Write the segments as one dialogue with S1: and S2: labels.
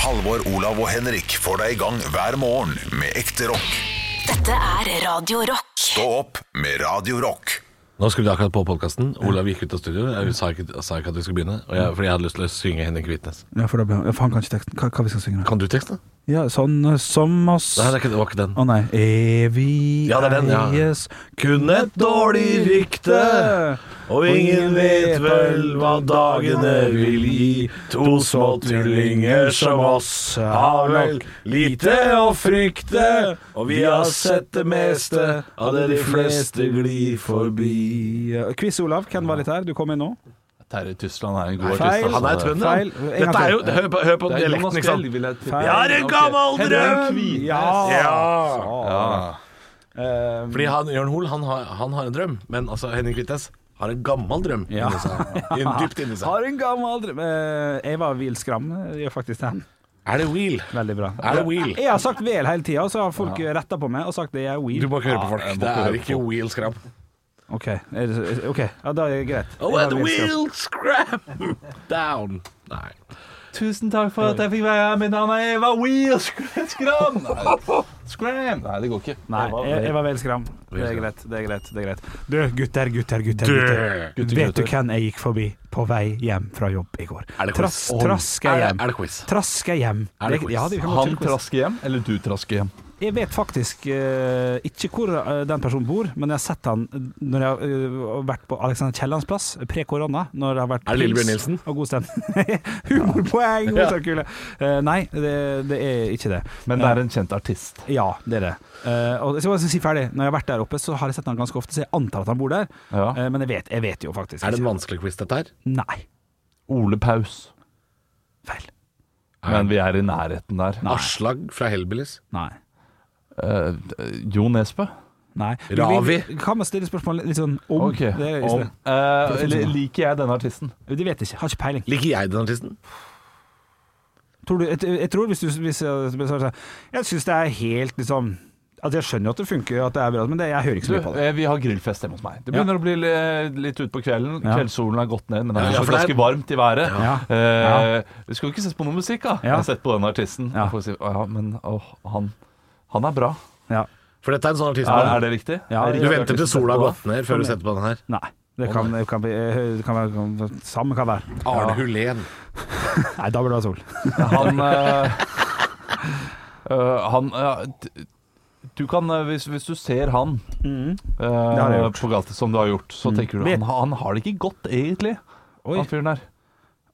S1: Halvor, Olav og Henrik får deg i gang hver morgen med ekte rock.
S2: Dette er Radio Rock.
S1: Stå opp med Radio Rock.
S3: Nå skrudde jeg akkurat på podkasten. Olav gikk ut av studio. Jeg sa ikke, sa ikke at vi skulle begynne, og jeg, fordi jeg hadde lyst til å synge Henrik Hvitnes.
S4: Ja, for da blir han Ja, for han kan ikke teksten. Hva, hva vi skal synge? da?
S3: Kan du teksten?
S4: Ja, sånn eh, som oss
S3: Nei, det,
S4: Å
S3: er ikke, det var ikke den.
S4: nei. Evig
S3: Ja, det er den, ja.
S4: eies
S3: Kun et dårlig rykte, og ingen vet vel hva dagene vil gi. To små tullinger som oss har vel lite å frykte, og vi har sett det meste av det de fleste glir forbi.
S4: Ja, Quiz, Olav. Hvem var litt her? Du kom inn nå.
S5: Terje Tyskland er en god
S4: Feil.
S5: artist. altså.
S3: Han er trønder. han.
S4: Feil. En gang
S3: Dette er jo,
S4: til.
S3: hør, på, hør på
S5: Det er Jonas
S3: dialekten, ikke
S5: Fjell,
S3: sant?
S5: vil jeg tippe.
S4: Feil.
S3: Jeg har en gammel
S5: Henrik
S3: drøm!
S5: Kvitnes.
S4: Ja! Sånn.
S5: Ja.
S4: Eh,
S3: Fordi han, Jørn Hoel han har, han har en drøm, men altså, Henrik Kvitnes har en gammel drøm
S4: Ja.
S3: inni seg. Inn- Dypt inni seg.
S4: har en gammel drøm Eh, Eva Wiel Skram eh, gjør faktisk den.
S3: Er det Wheel?
S4: Veldig bra.
S3: Er det Wheel?
S4: Jeg har sagt vel hele tida, og så har folk retta på meg og sagt det er Wheel.
S3: Du må ikke høre på folk.
S5: jeg må
S3: det
S5: ikke
S3: er
S5: høre
S3: ikke Wheel Scrap.
S4: Ok, er det- ok. ja, da er det greit.
S3: Oh,
S4: Eva
S3: and
S4: Wiel Skram.
S3: Wheel Scrap down. Nei.
S5: Tusen takk for at jeg fikk være her. Mitt navn er Eva Wheel Skram. Nei. Skram. Nei, det går ikke.
S4: Nei, jeg, jeg var vel skram. Det er greit. det er greit, det er greit Du, gutter, gutter, gutter. gutter.
S5: Gutter,
S4: Vet du
S5: gutter.
S4: hvem jeg gikk forbi på vei hjem fra jobb i går?
S3: Er det quiz?
S4: Trass, traska
S3: Er det-
S4: hjem.
S3: er det quiz?
S4: Traska hjem.
S3: Er det quiz?
S4: Ja, det kan godt
S5: Han
S4: være quiz.
S5: trasker hjem, eller du trasker hjem?
S4: Jeg vet faktisk eh, ikke hvor eh, den personen bor, men jeg har sett han når jeg har eh, vært på Alexander Kiellands plass pre-korona. Når det har vært
S3: Er det Lillebjørn
S4: pils
S3: Nilsen?
S4: Og god stemning. Humorpoeng! god stemning, kule. Eh, nei, det, det er ikke det. Eh,
S5: Men det er en kjent artist.
S4: Ja, det er det. Eh, og jeg skal bare si ferdig. Når jeg har vært der oppe, så har jeg sett han ganske ofte, så jeg antar at han bor der.
S5: Ja.
S4: Eh, men jeg vet, jeg vet jo faktisk
S3: Er det en
S4: ikke.
S3: vanskelig quiz, dette her?
S4: Nei.
S5: Ole Paus.
S4: Feil.
S5: Men vi er i nærheten der.
S3: Aslag fra Hellbillies.
S4: Nei.
S5: Eh, jo Nesbø.
S4: Nei.
S3: Ravi.
S4: Vi- vi- Kan man stille spørsmål litt sånn om?
S5: Ok.
S4: Det, er,
S5: Om, eh, li- liker jeg denne artisten?
S4: det vet jeg ikke. Har ikke peiling.
S3: Liker jeg den artisten?
S4: Tror du, jeg, jeg tror hvis du hvis jeg, hvis jeg, jeg syns det er helt liksom At jeg skjønner jo at det funker, at det er bra, men det, jeg hører ikke så
S5: Du,
S4: mye på det.
S5: eh, vi har grillfest hjemme hos meg. Det begynner å bli li- eh, litt ut på kvelden.
S4: Ja.
S5: Kveldssolen har gått ned, men det er
S3: Ja,
S5: fortsatt
S3: for det er-
S5: ganske varmt i været.
S4: Ja.
S5: Eh, Vi skal jo ikke sette på noe musikk, da. Jeg
S4: Ja.
S5: har sett på den artisten.
S4: Ja.
S5: Jeg får si, «Å ja, men åh, han, han er bra.
S4: Ja.
S3: For dette er en sånn artist.
S5: Er, er det riktig?
S4: Ja,
S5: Er det
S3: Du
S5: riktig
S3: venter til
S5: artist å
S3: sola
S5: sette
S3: har
S5: på, da?
S3: gått ned før du setter på den her.
S4: Nei. Det kan, det kan, bli- eh, det kan være kan- Samme kan være.
S3: Arne Hulén.
S4: Nei, da burde det være sol.
S5: Han, eh, eh, han eh, d- du kan, eh, hvis, hvis du ser han
S4: Mm.
S5: eh,
S4: har jeg gjort.
S5: på gata som du har gjort, så tenker du
S4: Vet-
S5: han, han har det ikke godt egentlig,
S4: Oi.
S5: han fyren der.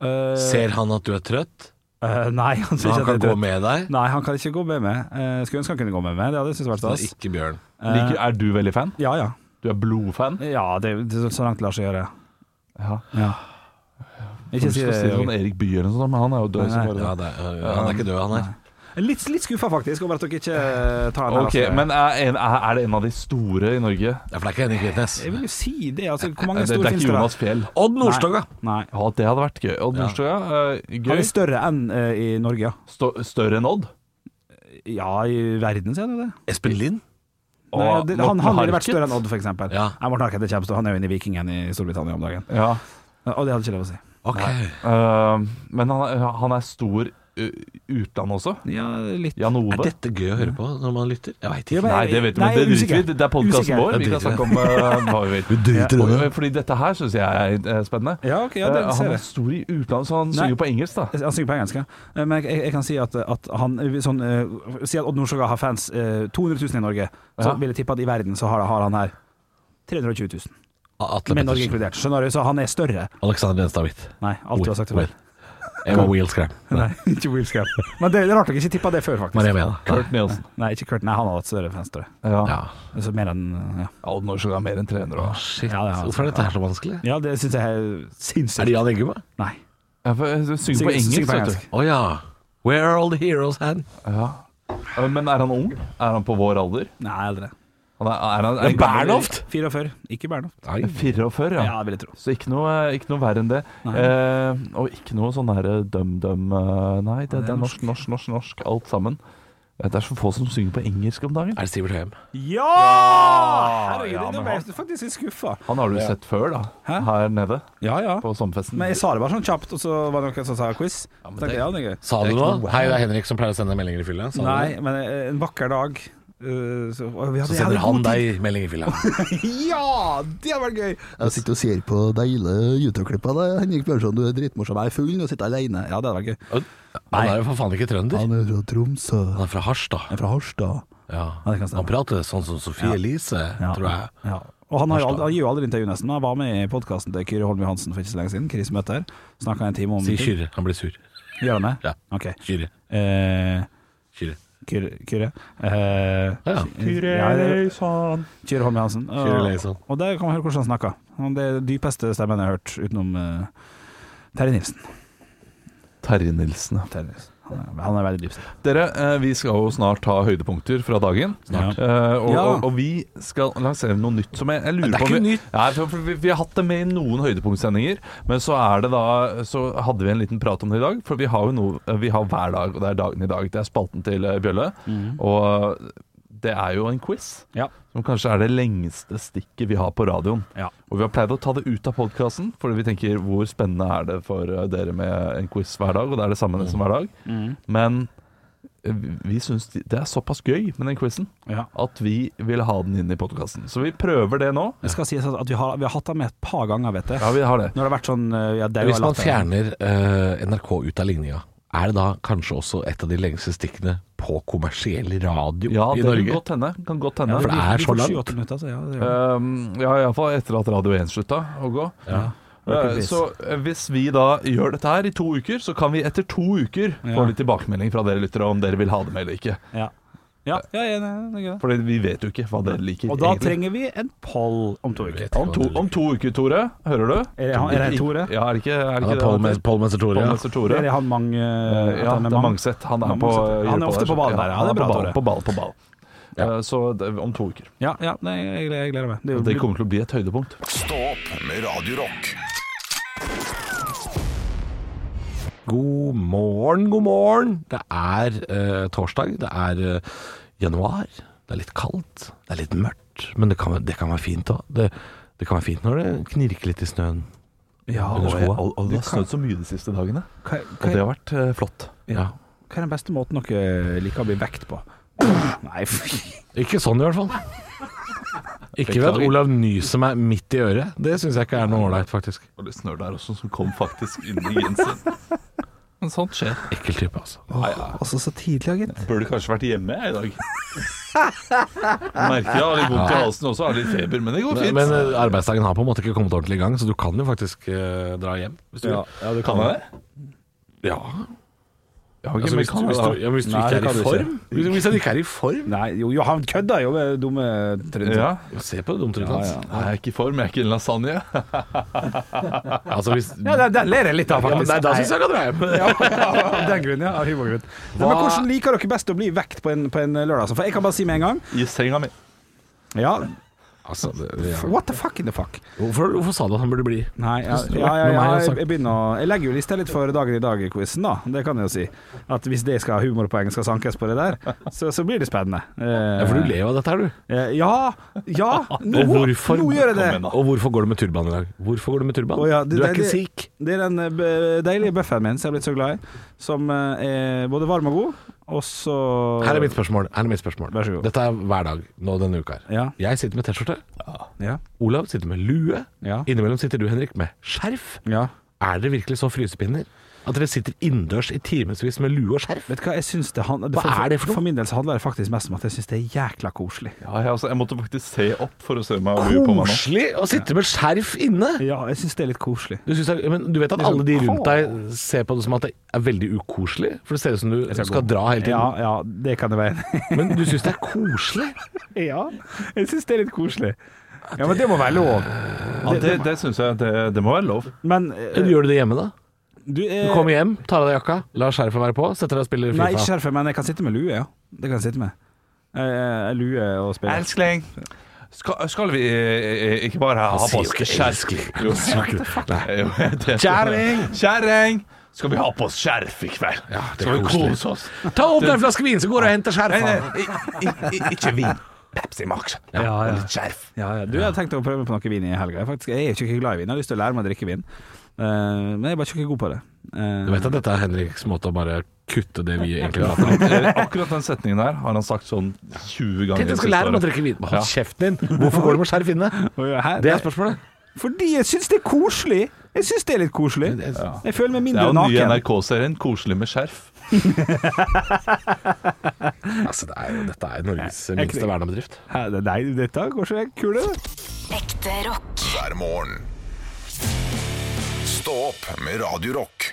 S4: Eh,
S3: Ser han at du er trøtt?
S4: eh, nei, han syns
S3: Så han
S4: ikke
S3: kan
S4: at det
S3: gå
S4: er dødt.
S3: med deg?
S4: Nei, han kan ikke gå med meg. Eh, skulle ønske han kunne gå med meg. Det hadde jeg syntes vært
S3: Det er
S4: stas.
S3: ikke Bjørn.
S5: Liker, er du veldig fan?
S4: Ja, ja.
S5: Du er blodfan?
S4: Ja, det, det så langt det lar seg gjøre.
S5: Ja.
S4: Ja. Ikke
S5: Ikke
S4: si
S5: si sånn
S4: det.
S5: Erik Bye eller noe sånt, men han er jo
S4: Nei,
S5: død. som bare det.
S3: Ja, det er, øh, han er ikke død, han her.
S4: Litt, litt skuffa faktisk over at dere ikke eh, tar den. her,
S5: Ok,
S4: altså.
S5: men er, en, er er det en av de store i Norge?
S3: Ja, for det er ikke Henrik Hvitnes.
S4: Jeg vil jo si det. Altså, hvor
S5: Det,
S4: mange
S5: Eh, det
S4: store
S5: er
S4: finnes
S5: ikke
S4: det? da?
S5: Jonas Fjell.
S3: Odd Nordstoga!
S4: Nei.
S5: Ja, det hadde vært gøy. Odd
S3: Ja.
S5: Nordstoga, eh,
S4: Han
S5: gøy.
S4: er større enn eh, i Norge, ja.
S5: Stå, større enn Odd?
S4: Ja, i verden så er det det.
S3: Espen Lind?
S5: Og
S4: Nei, det han,
S5: Morten
S4: han ville vært
S5: Harket?
S4: større enn Odd, for eksempel.
S3: Ja.
S4: Nei, Morten Harket er kjempestor. Han er jo inne i Vikingen i Storbritannia om dagen.
S5: Ja.
S4: Og det hadde ikke lov å si.
S3: Ok.
S5: Eh, men han, er- han er stor uh, utlandet også.
S4: Ja, litt.
S5: Jan
S3: Er
S5: Ove.
S3: dette gøy å høre på når man lytter? Jeg veit
S4: Ja,
S3: ikke.
S4: men-
S5: Nei, det vet du,
S4: Nei,
S5: men det
S4: usikker.
S5: driter vi i. Det er podkasten
S4: Usikker.
S5: vår.
S3: Ja,
S5: Vi kan
S3: driter
S5: snakke om eh, hva vi vil.
S3: driter
S5: Og, eh, fordi dette her syns jeg er eh, spennende.
S4: Ja, ok, ja, det
S5: Eh,
S4: ser
S5: han er
S4: jeg.
S5: stor i utlandet, så han
S4: Nei.
S5: synger jo på engelsk, da.
S4: Han synger på engelsk, ja. Eh, men jeg, jeg kan si at, at han sånn, eh, Si at Odd Nordstoga har fans eh, 200 000 i Norge, så
S5: Ja.
S4: vil jeg tippe at i verden så har, har han her 320 000.
S3: Atle
S4: Med Norge
S3: Pettersen.
S4: inkludert. Skjønner du? Så han er større.
S3: Alexander Enstad Hvitt.
S4: Nei, alt du har sagt er feil.
S3: Emma Wheelscram.
S4: Nei, ikke Will Scamp. Men det, det er rart dere ikke tippa det før, faktisk.
S3: Maria Mena.
S5: Kurt Nielsen.
S4: Nei, ikke Kurt. Nei, han har hatt større fans, tror jeg.
S5: Ja.
S3: Ja.
S4: Så mer enn Ja,
S5: Ja, Odd Nordstoga er mer enn 300 år.
S3: Shit.
S4: Ja, det er-
S3: Hvorfor er dette her så vanskelig?
S4: ja det syns jeg er
S3: Er
S4: sinnssykt.
S3: det Jan Eggum? da?
S4: Nei.
S5: Ja, for, eh, du Synger
S4: Synger-
S5: på engelsk,
S4: synger på
S5: vet
S4: engelsk.
S5: du.
S3: Å ja. Where are all the heroes hen?
S5: Ja. Eh, Men er han ung? Er han på vår alder?
S4: Nei, eldre.
S5: Han er, er han, er
S3: Men
S5: gammel-
S3: Bernhoft?
S4: 44. Ikke Bernhoft.
S5: 44,
S4: Ja,
S5: ja.
S4: det vil jeg tro.
S5: Så ikke noe, ikke noe verre enn det. Eh, og ikke noe sånn derre døm-døm eh, Nei, det, det er norsk, norsk, norsk, norsk, alt sammen. Det er så få som synger på engelsk om dagen.
S3: Er det Sivert Høyem?
S4: Ja!
S6: Ah,
S4: Herregud,
S5: ja, men
S4: nå ble
S5: han-
S4: jeg faktisk litt skuffa.
S5: Han har du sett før, da.
S4: Hæ?
S5: Her nede
S4: Ja, ja.
S5: på sommerfesten.
S4: Men jeg sa det bare sånn kjapt, og så var det noen som sa quiz. Ja,
S3: men
S4: men det,
S3: det-
S4: ja, det er gøy.
S3: Sa du noe? Hei, det er Henrik som pleier å sende meldinger i fylla. Sa du
S4: Nei,
S3: det?
S4: men eh, en vakker dag eh, så, og vi hadde,
S3: Så sender
S4: jeg hadde
S3: han
S4: god tid.
S3: deg melding i fylla.
S4: Ja! Det hadde vært gøy!
S6: Jeg sitter og ser på de gilde YouTube-klippa. da. Henrik Bjørnson, du er dritmorsom. Jeg er full og sitter alene. Ja, det hadde vært gøy.
S3: Han er jo for faen ikke trønder.
S6: Han er fra Tromsø.
S3: Han er fra Harstad.
S6: Han er fra Harstad.
S3: Ja.
S4: Ja, det kan stemme.
S3: Han prater sånn som Sofie Elise,
S4: Ja.
S3: tror jeg.
S4: Ja. Og han, har jo aldri, han gir jo aldri intervju, nesten. men Han var med i podkasten til Kyrre Holm Johansen for ikke så lenge siden. Chris møter. Snakka en time om
S3: Si Kyrre. Han blir sur.
S4: Gjør han det?
S3: Ja.
S4: Ok.
S3: Kyrre.
S4: Eh,
S3: Kyrre.
S4: Kyrre Kyrre. Eh,
S3: Ja.
S4: ja, det- Kyrre Holm Johansen.
S3: Kyrre Leison.
S4: Og der kan man høre hvordan han snakker. Han- Det er den dypeste stemmen jeg har hørt, utenom eh, Terje Nilsen.
S5: Terje Nilsen.
S4: Terje Nilsen. Han, er, han er veldig dyp.
S5: Dere, eh, vi skal jo snart ta høydepunkter fra dagen.
S4: Snart.
S5: Eh, og,
S4: Ja.
S5: og, og vi skal lansere noe nytt som jeg, jeg lurer
S3: Det er
S5: på om
S3: ikke
S5: vi,
S3: nytt.
S5: Nei, for, for vi, vi har hatt det med i noen høydepunktsendinger, men så er det da Så hadde vi en liten prat om det i dag, for vi har jo noe Vi har hver dag, og det er dagen i dag. Det er spalten til eh, Bjølle.
S4: Mhm.
S5: Og det er jo en quiz.
S4: Ja.
S5: Som kanskje er det lengste stikket vi har på radioen.
S4: Ja.
S5: Og vi har pleid å ta det ut av podkasten, fordi vi tenker hvor spennende er det for eh, dere med en quiz hver dag, og det er det samme
S3: Mm.
S5: nesten hver dag. Men eh, vi- vi syns de- det er såpass gøy med den quizen
S4: Ja.
S5: at vi vil ha den inn i podkasten. Så vi prøver det nå.
S4: Det skal sies at vi har, vi har hatt ham med et par ganger, vet jeg.
S5: Ja, vi har det.
S4: Når det har vært sånn eh, ja, det er jo
S3: Hvis man
S4: latter.
S3: fjerner eh, NRK ut av linja, er det da kanskje også et av de lengste stikkene på kommersiell radio
S5: Ja,
S3: i
S5: det kan
S3: Norge?
S5: godt hende. Kan godt hende.
S4: Ja,
S3: for det
S4: vi-
S3: er
S4: vi
S3: så
S4: får
S3: langt. Eh,
S4: 7-8 Minutter, så ja, det gjør det.
S5: Um, ja, iallfall etter at Radio 1 slutta å gå.
S4: Rest in
S5: Uh,
S4: peace.
S5: Så uh, hvis vi da gjør dette her i to uker, så kan vi etter to uker
S4: Ja.
S5: få litt tilbakemelding fra dere lyttere om dere vil ha det med eller ikke.
S4: Ja. Ja, ja, ja, det er gøy.
S5: For vi vet jo ikke hva dere liker.
S4: Og da
S5: egentlig.
S4: trenger vi en poll om to uker.
S5: om to, om to uker, Tore. Hører du?
S4: Er det han- er det
S5: Ikke-
S4: Tore?
S5: Ja, er det ikke,
S3: Ja,
S5: er det ikke
S3: det er Paul Mes- Paul Mester Tore. ja.
S5: Paulmester Tore.
S4: Er det han Mang... eh, at
S5: ja,
S4: han er
S5: det er
S4: Mang?
S5: Mangset. Han er,
S4: Mang-
S5: på,
S4: Mangset. Han er
S5: på
S4: ofte
S5: der,
S4: på ballen der, ja,
S5: så-
S4: det er
S5: han er
S4: bra,
S5: på ball,
S4: Tore.
S5: på ball, på ball. Uh, Så det- om to uker.
S4: Ja, ja nei, jeg, gleder, jeg gleder meg. Det,
S5: Det kommer til å bli et høydepunkt.
S1: Stå opp med Radio Rock.
S3: God morgen, god morgen. Det er eh, torsdag, det er eh, januar. Det er litt kaldt, det er litt mørkt, men det kan, være- det kan være fint òg. Det, det kan være fint når det knirker litt i snøen.
S4: ja,
S3: Under skoa.
S5: Og, og det har snødd så mye de siste dagene,
S4: hva,
S5: og
S4: hva,
S5: det
S4: er,
S5: har vært eh, flott.
S3: Ja.
S4: hva er den beste måten dere liker å bli vekt på? Nei, fy
S3: Ikke sånn i hvert fall. Ikke ved at
S5: Beklager.
S3: Olav nyser meg midt i øret. Det syns jeg ikke er noe ålreit, faktisk.
S5: Og det snør der også, som kom faktisk inn i genseren. Men sånt skjer.
S3: Ekkel type, altså.
S4: Altså, så tidlig, ja, gitt.
S5: Burde kanskje vært hjemme jeg i dag. Merker jeg har litt vondt i halsen også, har litt feber, men det går fint.
S3: Men eh, arbeidsdagen har på en måte ikke kommet ordentlig i gang, så du kan jo faktisk eh, dra hjem hvis du vil.
S5: du kan det.
S3: Ja.
S5: Jeg har
S3: Altså,
S5: ikke
S3: hvis,
S5: meldt
S3: du, hvis, du, ja, hvis du
S4: Nei,
S3: ikke
S4: det
S3: er
S4: kan
S3: i
S4: du ikke.
S3: form Hvis, hvis han ikke er i form
S4: Nei, jo, jo, han kødda jo med dumme trønder.
S5: Ja.
S3: Se på det dumt ut hans.
S5: Nei, jeg er ikke i form, jeg er ikke en lasagne.
S3: Altså, hvis
S4: Ja, den, den ler jeg litt av,
S3: Ja, men
S4: faktisk.
S3: nei, da syns jeg han kan dra hjem.
S4: Ja, Av den grunn, ja. Av humorgrunn. Nei, Men hvordan liker dere best å bli vekt på en, på en lørdag? altså? For jeg kan bare si med en gang
S5: I senga mi.
S4: Ja,
S3: Altså, det- ja.
S4: what the fuck in the fuck?
S3: hvorfor, hvorfor sa du at han burde bli?
S4: Nei, ja,
S3: Synes du det
S4: ja,
S3: var
S4: ja,
S3: med meg,
S4: ja,
S3: altså?
S4: jeg, jeg begynner å Jeg legger jo lista litt for dagen i dag-quizen, da. Det kan jeg jo si. At hvis det skal humorpoeng skal sankes på det der, så, så blir det spennende. Eh,
S3: Ja, for du ler jo av dette her, du.
S4: eh, Ja, ja, nå,
S3: Og hvorfor-
S4: nå gjør jeg det.
S5: Kom igjen, da.
S3: Og hvorfor går du med turban i dag? Hvorfor går du med turban?
S4: Å ja,
S3: du er
S4: deilige-
S3: ikke sikh.
S4: Det er den eh, b- deilige bøffen min som jeg er blitt så glad i, som eh, er både varm og god, og så
S3: Her er mitt spørsmål. Her er mitt spørsmål.
S4: Vær så god.
S3: Dette er hver dag nå denne uka her.
S4: Ja,
S3: Jeg sitter med T-skjorte.
S4: ja,
S3: Olav sitter med lue.
S4: ja.
S3: Innimellom sitter du, Henrik, med skjerf.
S4: ja.
S3: Er dere virkelig så frysepinner at dere sitter innendørs i timevis med lue og skjerf?
S4: Vet du hva, jeg syns det han-
S3: Hva er det for noe?
S4: For min del så handler det faktisk mest om at jeg syns det er jækla koselig.
S5: Ja, jeg, altså, jeg måtte faktisk se opp for å se meg
S3: Oh,
S5: lue på meg nå.
S3: Koselig å sitte med skjerf inne!
S4: Ja, jeg syns det er litt koselig.
S3: Du, synes det er, men du vet at
S4: Liksom,
S3: alle de rundt deg ser på det som at det er veldig ukoselig? For det ser ut som du skal dra hele
S4: Ja,
S3: tiden.
S4: ja, det kan jeg være enig
S3: Men du syns det er koselig?
S4: i. Ja, jeg syns det er litt koselig. Ja, men det må være lov.
S5: Ja, det det syns jeg det, det må være lov.
S4: Men
S3: Men
S4: eh,
S3: Gjør du det hjemme, da?
S4: du
S3: Du
S4: eh,
S3: kommer hjem, tar av deg jakka, lar skjerfet være på, setter deg og spiller
S4: Nei, ikke
S3: Fifa.
S4: skjerfet, men jeg kan sitte med lue, ja. Det kan jeg sitte med. Eh, eh, lue og spille.
S5: Elskling, skal, skal vi eh, eh, ikke bare ha
S3: sier
S5: på
S3: jo
S5: oss
S3: ikke
S5: skjerf? Jo, jo, det-
S3: Kjerring!
S5: Kjerring! Skal vi ha på oss skjerf i kveld?
S3: det er
S5: Skal vi
S3: koselig.
S5: kose oss?
S3: Ta opp den flaske vin, så går jeg og henter
S5: Nei,
S3: skjerfet.
S5: nei, i- i- i- ikke vin. Pepsi Max.
S4: Ja, ja.
S5: Og litt skjerf.
S4: Ja, ja. Du, jeg har tenkt å prøve på noe vin i helga. Jeg, er faktisk, jeg er jo ikke glad i vin. Jeg har lyst til å lære meg å drikke vin, Eh, men jeg er bare ikke god på det. Eh,
S3: Du vet at dette er Henriks måte å bare kutte det vi egentlig har hatt.
S5: eh, Akkurat den setningen der har han sagt sånn 20 ganger.
S3: Tenk, jeg skal lære meg å drikke vin. Hold kjeften din! Hvorfor går du med skjerf inne?
S4: Eh, her-
S3: Det er spørsmålet.
S4: Fordi jeg syns det er koselig! Jeg syns det er litt koselig. Jeg føler meg
S5: Det er
S4: mindre
S5: jo den nye
S4: naken.
S5: NRK-serien 'Koselig med skjerf'.
S3: Altså, det er jo, dette er Norges minste vernebedrift.
S4: Hæ, det- Nei, dette går så kule.
S2: Ekte rock.
S1: hver morgen. Stå opp med Radio Rock.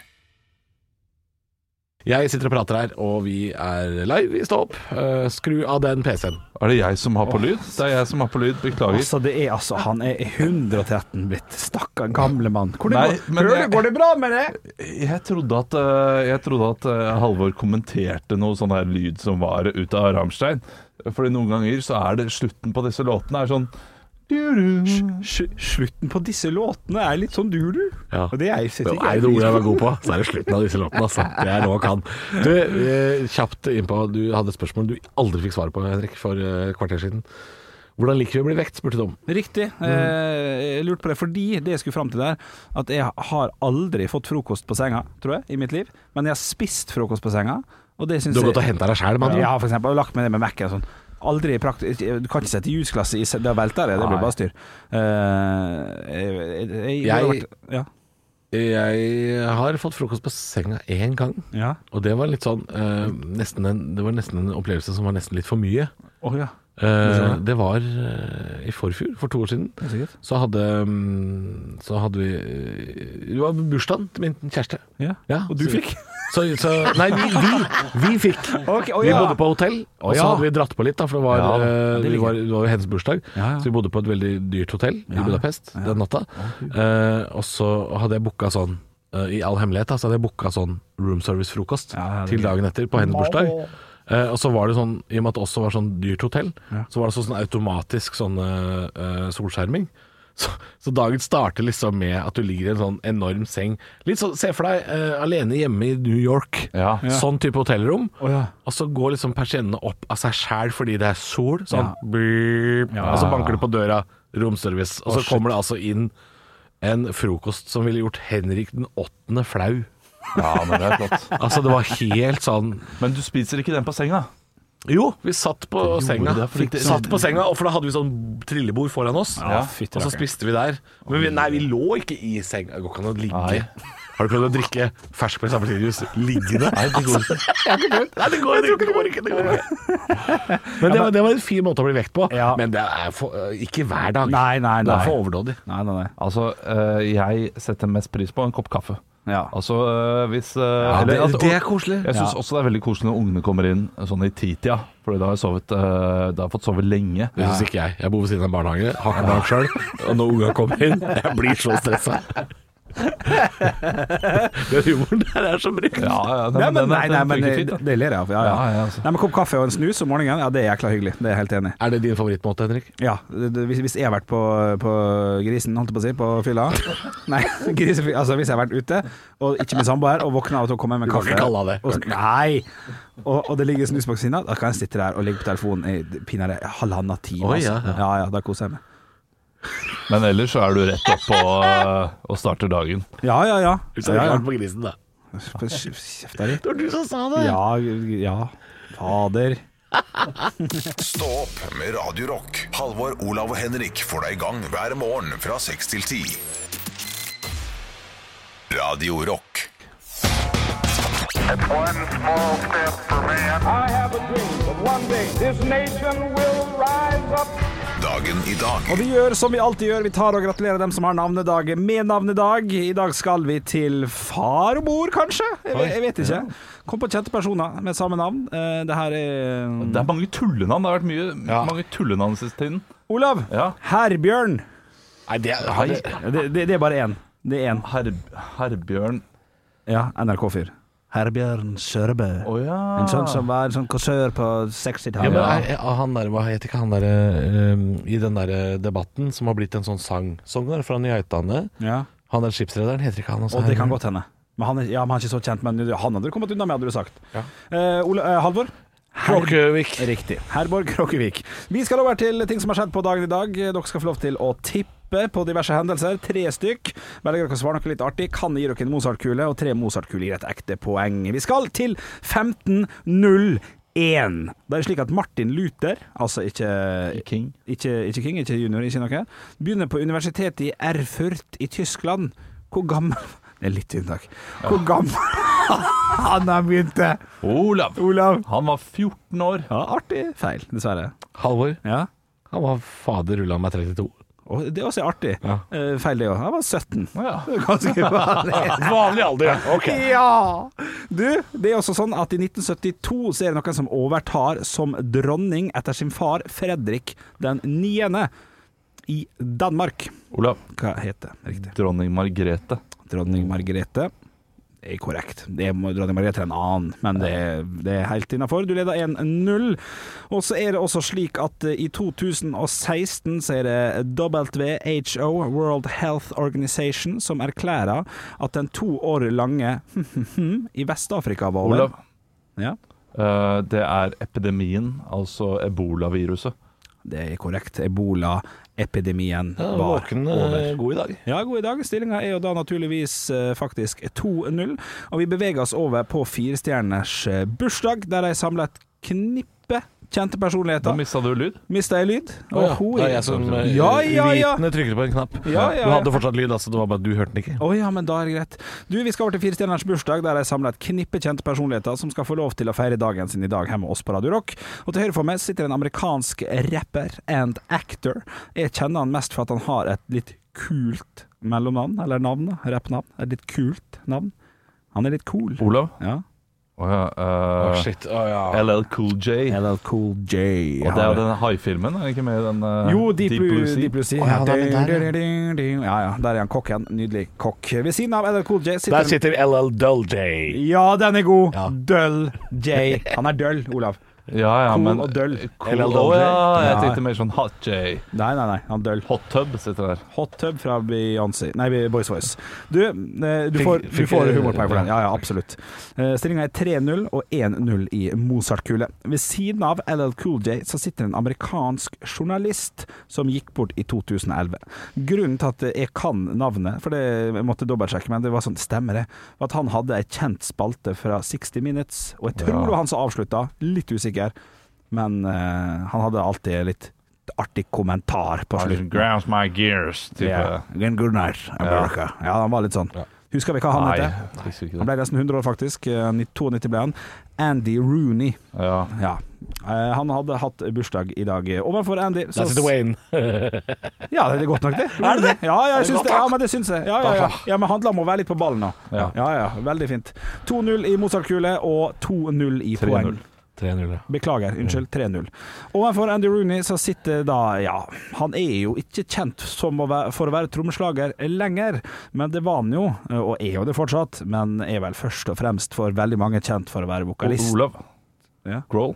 S3: Jeg sitter og prater her, og vi er live. Vi står opp. Eh, skru av den PC-en.
S5: Er det jeg som har på lyd? Det er jeg som har på lyd, beklager.
S4: Altså, det er altså Han er 113 blitt. Stakkar gamle mann. Hvordan
S5: Nei,
S4: går,
S5: men
S4: Hører
S5: jeg-
S4: du, går det bra med det?
S5: Jeg trodde at, eh, jeg trodde at eh, Halvor kommenterte noe sånn her lyd som var ut av Rammstein. Fordi noen ganger så er det slutten på disse låtene er sånn du-du.
S4: Sl- Slutten på disse låtene er litt sånn du-du.
S3: Ja.
S4: Og det er jeg setter
S3: Det
S4: ikke
S3: er
S4: jeg
S3: det ordet
S4: pris
S3: jeg
S4: på.
S3: var god på, så er det slutten av disse låtene. Altså. Det er noe jeg kan. Du, eh, kjapt innpå. Du hadde et spørsmål du aldri fikk svar på, Henrik, for eh, et kvarter siden. Hvordan liker vi å bli vekt, spurte du om.
S4: Riktig.
S3: Mm.
S4: Eh, jeg lurte på det fordi det jeg skulle fram til der, at jeg har aldri fått frokost på senga, tror jeg, i mitt liv. Men jeg har spist frokost på senga, og det syns
S3: Du
S4: jeg
S3: har gått og henta deg sjæl, mann.
S4: Ja, for eksempel. Og lagt meg ned med Mac-en og sånn. Aldri praktisk Du kan ikke sette jusglasset i se- Da velter det. Det
S3: Nei.
S4: blir bare styr. Eh, jeg, jeg, jeg,
S3: Jeg-
S4: Ja.
S3: Jeg har fått frokost på senga én gang,
S4: ja.
S3: og det var litt sånn eh, nesten en, Det var nesten en opplevelse som var nesten litt for mye.
S4: Å, ja.
S3: Eh, det var eh, i forfjor, for to år siden.
S4: Det er sikkert.
S3: Så hadde, mm, så hadde vi eh, Det var bursdagen til min kjæreste.
S4: Ja.
S3: Ja,
S4: Og du
S3: så-
S4: fikk?
S3: Så, så, nei, vi, vi, vi fikk.
S4: Ok, å
S3: Vi
S4: ja.
S3: bodde på hotell, og så
S4: ja.
S3: hadde vi dratt på litt, da, for det var,
S4: Ja,
S3: eh,
S4: det
S3: vi
S4: liker
S3: var, det var jo hennes bursdag.
S4: Ja, ja.
S3: Så vi bodde på et veldig dyrt hotell i Budapest den natta. Eh, og så hadde jeg booka sånn, eh, i all hemmelighet, da, så hadde jeg booka sånn room service-frokost
S4: Ja, ja, det
S3: til
S4: liker
S3: dagen etter på hennes bursdag. Eh, og så var det sånn, I og med at det også var sånn dyrt hotell, så var det sånn, sånn automatisk sånn eh, eh, solskjerming. Så, så dagen starter liksom med at du ligger i en sånn enorm seng. Litt sånn, Se for deg eh, alene hjemme i New York.
S5: Ja.
S3: Sånn type hotellrom.
S4: Å, ja.
S3: Og så går liksom persiennene opp av seg sjæl fordi det er sol. Sånn, Beep. Og så banker det på døra, romservice. Og så kommer det altså inn en frokost som ville gjort Henrik den åttende flau.
S5: Ja, men det er flott.
S3: Altså, det var helt sånn
S5: Men du spiser ikke den på senga?
S3: Jo, vi satt på senga.
S5: det, fordi det-
S3: satt på senga, og for da hadde vi sånn trillebord foran oss.
S4: Ja, fytti
S3: og så
S4: rakkeren.
S3: spiste vi der. Men vi, nei, vi lå ikke i senga. Det går ikke an å ligge.
S5: Nei.
S3: Har du prøvd å drikke ferskmelk appelsinjuice liggende?
S5: Nei, det går ikke.
S3: Nei, det går, det går ikke. Det går ikke. Men det var, det var en fin måte å bli vekt på.
S4: Ja.
S3: Men det er for, eh, ikke hver dag.
S4: Nei, nei,
S3: Det er
S4: nei.
S3: for overdådig.
S4: Nei, nei, nei.
S5: Altså, eh, jeg setter mest pris på en kopp kaffe.
S4: Ja.
S5: Altså, eh, hvis eh,
S3: det,
S5: eller at-
S3: det er koselig.
S5: Jeg syns også det er veldig koselig når ungene kommer inn sånn i titida, for da har jeg sovet, eh, da har jeg fått sove lenge.
S3: Det syns ikke jeg. Jeg bor ved siden av en barnehage, har ikke barn sjøl. Og når ungene kommer inn, jeg blir så stressa. Den humoren der er så brukt.
S5: Ja, ja,
S4: Nei, men,
S5: den-
S4: nei,
S5: den
S4: nei, men eh,
S5: funker
S4: det,
S5: fint, da.
S4: det ler jeg av. Ja, ja.
S5: Ja, ja, altså.
S4: Nei, men Kopp kaffe og en snus om morgenen, ja, det er jækla hyggelig. Det er jeg helt enig i.
S3: Er det din favorittmåte, Henrik?
S4: Ja, det, det, hvis, hvis jeg har vært på, på grisen, holdt jeg på å si, på fylla Nei, grisefy, altså hvis jeg har vært ute, og ikke med samboer, og våkna av at hun kommer med
S3: kan
S4: kaffe
S3: ikke kalle han det.
S4: Og, nei! Og, og det ligger snus bak siden av, da kan jeg sitte der og ligge på telefonen i pinadø halvannen time.
S3: Oi,
S4: altså.
S3: ja, ja.
S4: ja, ja, da koser jeg meg.
S5: Men ellers så er du rett opp på eh, og starter dagen.
S4: Ja, ja, ja.
S3: Hvis jeg
S4: ja,
S3: hadde
S4: ja.
S3: vært på grisen, da.
S4: Kjeft deg litt.
S3: Det var du som sa det.
S4: Ja, ja. Fader.
S1: Stå opp med Radio Rock. Halvor, Olav og Henrik får deg i gang hver morgen fra 6 til 10. Radio Rock.
S7: One small step for man. I have a dream that one day this nation will rise up.
S1: Dagen i dag.
S4: Og vi gjør som vi alltid gjør, vi tar og gratulerer dem som har navnedag med navnedag. I dag skal vi til far og mor, kanskje? Jeg, jeg vet ikke. Kom på kjente personer med samme navn. Eh, Det her
S5: Det
S4: er eh,
S5: er mange tullenavn. Det har vært mye, mange tullenavn den siste tiden.
S4: Olav.
S5: Ja.
S4: Herbjørn.
S3: Nei, det er,
S5: Her,
S4: Det, det, det er bare én. Det er én.
S5: her, Herbjørn
S4: Ja, NRK-fyr. Herbjørn Sørbø.
S5: Å ja.
S4: En sånn som var en sånn korsør på
S3: ja, men
S4: 60-tallet.
S3: er, er, han der, hva heter ikke han der eh, I den der eh, debatten som har blitt en sånn sang Sangen er fra Nyheitane
S4: Ja.
S3: Han der skipsrederen heter ikke han også
S4: Og det kan godt hende. Men han, er- ja, men han er ikke så kjent, men han hadde du kommet unna med, hadde du sagt. Eh, Ole, eh, Halvor?
S3: Kråkevik.
S4: Riktig. Herborg Kråkevik. Vi skal over til ting som har skjedd på dagen i dag. Dere skal få lov til å tippe på diverse hendelser. Tre stykk. Velger dere å svare noe litt artig, kan gi dere en Mozart-kule, og tre Mozart-kuler gir et ekte poeng. Vi skal til 15.01. Da er det slik at Martin Luther, altså ikke
S5: King.
S4: Ikke, ikke King, ikke junior, ikke noe, begynner på universitetet i Erfurt i Tyskland. Hvor gammel Det er litt tynt, takk. Hvor gammel han har begynt det?
S5: Olav.
S4: Olav.
S5: Han var 14 år.
S4: Ja, artig feil, dessverre.
S3: Halvor.
S4: Ja.
S3: Han var fader ulla meg 32.
S4: Og det er også artig.
S3: Ja.
S4: Eh, feil det òg. Han var 17.
S5: Ja.
S4: Ganske vanlig.
S3: Vanlig alder, ja. Ok.
S4: Ja! Du, det er også sånn at i 1972 så er det noen som overtar som dronning etter sin far Fredrik den 9. i Danmark.
S5: Olav.
S4: Hva heter det? Riktig.
S5: Dronning Margrethe.
S4: Dronning Margrethe. Det er korrekt. Det er dronning Margrethe er en annen, men det er, det er helt innafor. Du leder 1-0. Og så er det også slik at eh, i 2016 så er det WHO, World Health Organization, som erklærer at den to år lange i Vest-Afrika var over.
S5: Olav.
S4: Ja,
S5: Eh, det er epidemien, altså ebolaviruset.
S4: det er korrekt. Ebola-epidemien
S3: Ja,
S4: var
S3: Våken eh,
S4: over.
S3: god i dag.
S4: Ja, god i dag. Stillinga er jo da naturligvis eh, faktisk 2-0. Og vi beveger oss over på firestjerners eh, bursdag, der de samler et knippe kjente
S5: Da
S4: personligheter.
S5: mista du lyd.
S4: Mista jeg lyd? Og
S3: Å ja,
S4: hun
S3: det er jeg som eh,
S4: ja, ja, ja.
S3: uvitende trykket på en knapp.
S4: Ja, ja,
S3: Du
S4: ja.
S3: hadde fortsatt lyd, altså. Det var bare at du hørte den ikke.
S4: Å ja, men da er det greit. Du, Vi skal over til Firestjerners bursdag, der jeg samler et knippe kjente personligheter som skal få lov til å feire dagen sin i dag her med oss på Radio Rock. Og til høyre for meg sitter en amerikansk rapper and actor. Jeg kjenner han mest for at han har et litt kult mellomnavn, eller navn, da. rappnavn. Et litt kult navn. Han er litt cool.
S5: Olav.
S4: Ja.
S5: Å ja, eh,
S3: shit. Å, ja.
S5: LL Cool J.
S4: LL Cool J.
S5: Og det er jo den haifilmen, er det ikke med i den? eh,
S4: Jo, Deep, Blue, Sea. Deep Blue Sea. Ja,
S3: ja, den er der, ja.
S4: Ding, ding, ding. ja, ja. Der er han kokken. Nydelig kokk. Ved siden av LL Cool J sitter
S3: Der
S4: en
S3: sitter LL Dull J.
S4: Ja, den er god.
S3: Ja.
S4: Døll J. Han er døll, Olav.
S5: Ja, ja,
S4: Cool
S5: men,
S4: og døll.
S5: Cool,
S3: LL
S5: Å ja, jeg
S4: Ja.
S5: tenkte mer sånn Hot J.
S4: Nei, nei, nei. Han er døll.
S5: Hot Tub sitter der.
S4: Hot tub fra Beyoncé Nei, Boys Voice. Du, eh, du
S3: Fikk-
S4: får, du
S3: fikk-
S4: får humorpoeng for den. Ja, ja, absolutt. Eh, Stillinga er 3-0 og 1-0 i Mozart-kule. Ved siden av LL Cool J så sitter en amerikansk journalist som gikk bort i 2011. Grunnen til at jeg kan navnet, for det jeg måtte dobbeltsjekke, men det var sånn, stemmer det, var at han hadde ei kjent spalte fra 60 Minutes, og jeg tror
S5: Ja.
S4: det var han som avslutta, litt usikker, men eh, han hadde alltid litt artig kommentar på slutten.
S5: Grounds my gears, type.
S4: Ja. Again, good night, America. Ja. han var litt sånn. Husker vi hva han het?
S5: Nei, jeg husker ikke
S4: Han
S5: det.
S4: ble nesten 100 år, faktisk. Eh, 92 ble han. Andy Rooney.
S5: Ja.
S4: Ja. Eh, han hadde hatt bursdag i dag. eh, Overfor Andy
S3: Der
S4: så-
S3: sitter Wayne.
S4: Ja, det er godt nok, det. Er det det? Ja, ja, jeg syns det, ja men det syns jeg. Ja, ja, ja. ja, men handler om å være litt på ballen nå. Ja,
S5: Ja.
S4: ja. Veldig fint. 2-0 i Mozart-kule og 2-0 i
S5: 3-0.
S4: poeng.
S3: 3-0, ja.
S4: Beklager, unnskyld. 3-0. Overfor Andy Rooney så sitter da, ja Han er jo ikke kjent som å være, for å være trommeslager lenger, men det var han jo, og er jo det fortsatt. Men er vel først og fremst for veldig mange kjent for å være
S5: Og
S4: vokalist.
S5: Olav.
S4: Ja.
S5: Grohl.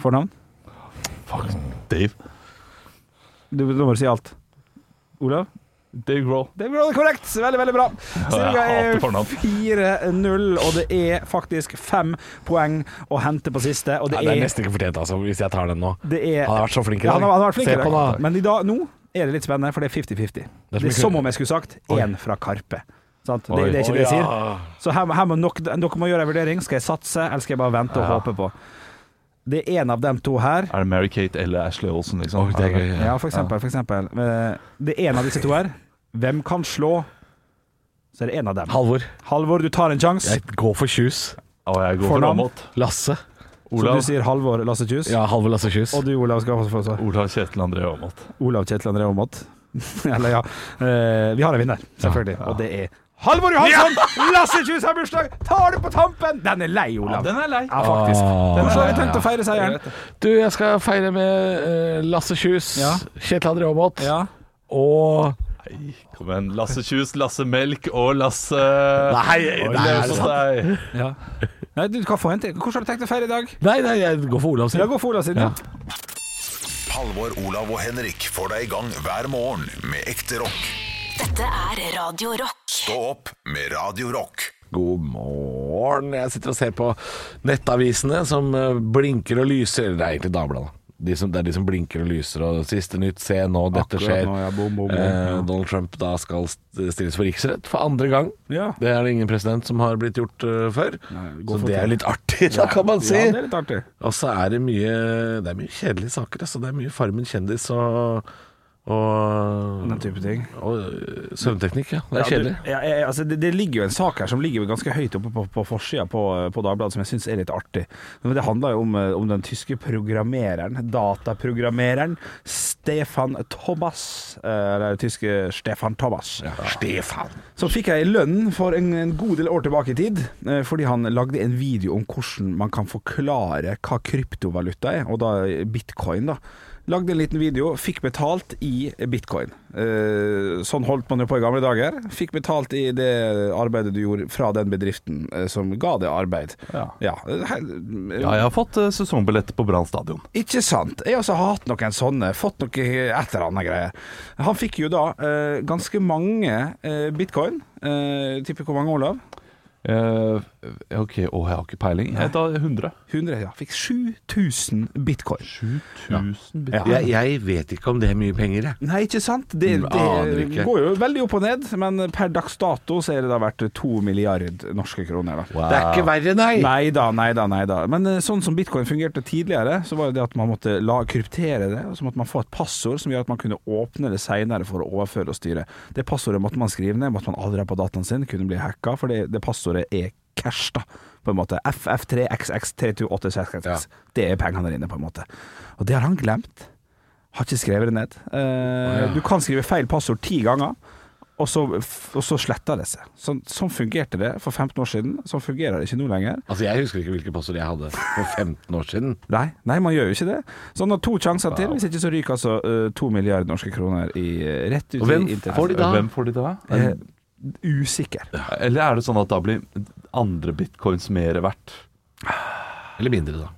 S4: Fornavn?
S5: Fuck, Dave.
S4: Du, du må si alt. Olav?
S5: Dave Grohl.
S4: Det er korrekt! Veldig, veldig bra. Stillinga
S5: hater
S4: er
S5: fornavn.
S4: 4-0, og det er faktisk fem poeng å hente på siste, og det
S3: Nei, det er
S4: er
S3: nesten ikke fortjent, altså, hvis jeg tar den nå.
S4: det er,
S3: Han har vært så flink i
S4: Ja, han
S3: dag.
S4: har, han har vært flink
S3: Se
S4: i dag.
S3: på han, da.
S4: Men i dag, nå er det litt spennende, for det er 50-50. Det,
S3: er så
S4: er
S3: mye
S4: som om jeg skulle sagt én fra Karpe. Sant? Det, det er ikke det jeg sier. Så her, her må nok, dere må gjøre en vurdering. Skal jeg satse, eller skal jeg bare vente og
S5: Ja.
S4: håpe på? Det er en av dem to her.
S5: Er det Mary-Kate eller Ashley Olsen, liksom?
S3: det er gøy. Ja.
S4: Ja, for eksempel. For eksempel. Eh, Det er en av disse to her. Hvem kan slå? Så er det en av dem.
S3: Halvor.
S4: Halvor, du tar en sjanse.
S3: Jeg går for Kjus.
S5: Og jeg går for
S4: Fornavn.
S5: Amot.
S3: Lasse.
S4: Så
S5: Olav.
S4: du sier Halvor Lasse Kjus.
S3: Ja, Halvor Lasse Kjus.
S4: Og du, Olav, skal få svar.
S5: Olav Kjetil André Aamodt.
S4: Olav Kjetil André Aamodt. Eller ja. Eh, vi har en vinner, selvfølgelig. Og det er Halvor Johansson! Lasse Kjus har bursdag! Tar det på tampen! Den er lei, Olav.
S5: Den er lei.
S4: Ja, faktisk.
S3: Ah.
S4: Den har jeg tenkt å feire seieren.
S3: Du, jeg skal feire med eh, Lasse Kjus,
S4: Ja.
S3: Kjetil André Aamodt
S4: Ja.
S3: og
S5: Nei, kom igjen. Lasse Kjus, Lasse Melk og Lasse
S3: Nei,
S4: sånn.
S5: Løsesteg.
S4: ja. Nei, du kan få en til. Hvordan har du tenkt å feire i dag?
S3: Nei, nei, jeg går for Olav sin.
S4: Ja, gå for Olav sin. Ja.
S1: Halvor, Olav og Henrik får deg i gang hver morgen med ekte rock.
S2: Dette er Radio Rock.
S1: Stå opp med Radio Rock.
S3: God morgen. Jeg sitter og ser på nettavisene som eh, blinker og lyser. Det er egentlig Dagbladet. De som, det er de som blinker og lyser, og siste nytt, se nå, dette
S4: Akkurat
S3: skjer.
S4: nå, ja, bom, bom, bom,
S3: Eh,
S4: ja.
S3: Donald Trump da skal st- stilles for riksrett for andre gang.
S4: Ja.
S3: Det er det ingen president som har blitt gjort eh, før.
S4: gå
S3: så
S4: for
S3: det
S4: det.
S3: er litt artig, da kan man si.
S4: Ja, det er litt artig.
S3: Og så er det mye Det er mye kjedelige saker. Altså. Det er mye Farmen kjendis og, og,
S4: Den type ting.
S3: og øh, søvnteknikk. Ja. Det er
S4: Ja, du-
S3: kjedelig.
S4: Ja, jeg, altså, det, det ligger jo en sak her som ligger jo ganske høyt oppe på, på forsida på, på Dagbladet, som jeg syns er litt artig. Men Det handler jo om, eh, om den tyske programmereren, dataprogrammereren Stefan Thomas. eh, Eller tyske Stefan Thomas.
S3: Stefan.
S4: Som fikk ei lønn for en, en god del år tilbake i tid, eh, fordi han lagde en video om hvordan man kan forklare hva kryptovaluta er, og da bitcoin, da. Lagde en liten video, fikk betalt i bitcoin. Eh, sånn holdt man jo på i gamle dager. Fikk betalt i det arbeidet du gjorde fra den bedriften eh, som ga det arbeid.
S5: Ja.
S4: he-
S5: Ja, jeg har fått eh, sesongbillett på Brann stadion.
S4: ikke sant. Jeg har også hatt noen sånne. Fått noe et eller annet greier. Han fikk jo da eh, ganske mange eh, bitcoin. Eh, Tipper hvor mange, Olav?
S5: Eh, ok, å, jeg har ikke peiling. Jeg tar 100.
S4: 100, ja. Fikk 7000 bitcoin.
S5: 7000 bit-
S4: Ja.
S3: Jeg, jeg vet ikke om det er mye penger, jeg.
S4: Nei, ikke sant? Det,
S3: Mm, Aner
S4: det
S3: ikke.
S4: går jo veldig opp og ned, men per dags dato så er det da verdt to milliard norske kroner. Da.
S3: Det er ikke verre, nei.
S4: Nei da, nei da, nei da. Men eh, sånn som bitcoin fungerte tidligere, så var det det at man måtte la, kryptere det, og så måtte man få et passord som gjør at man kunne åpne det seinere for å overføre og styre. Det passordet måtte man skrive ned, måtte man aldri ha på dataen sin, kunne bli hacka, for det, det passordet er cash, da. På en måte. FF3XX32866. Det er pengene der inne, på en måte. Og det har han glemt. Har ikke skrevet det ned. Eh, Du kan skrive feil passord ti ganger, og så, og så sletter det seg. Sånn, sånn fungerte det for 15 år siden. Sånn fungerer det ikke nå lenger.
S3: Altså, Jeg husker ikke hvilke passord jeg hadde for 15 år siden.
S4: Nei, nei, man gjør jo ikke det. Så han har to sjanser til. Hvis ikke så ryker altså eh, to milliarder norske kroner i, eh, rett ut
S3: Og hvem
S4: i inntekt.
S3: får de da?
S5: Hvem får de da?
S4: Eh, usikker.
S5: Eller er det sånn at da blir andre bitcoins mer verdt?
S3: Eller mindre, da.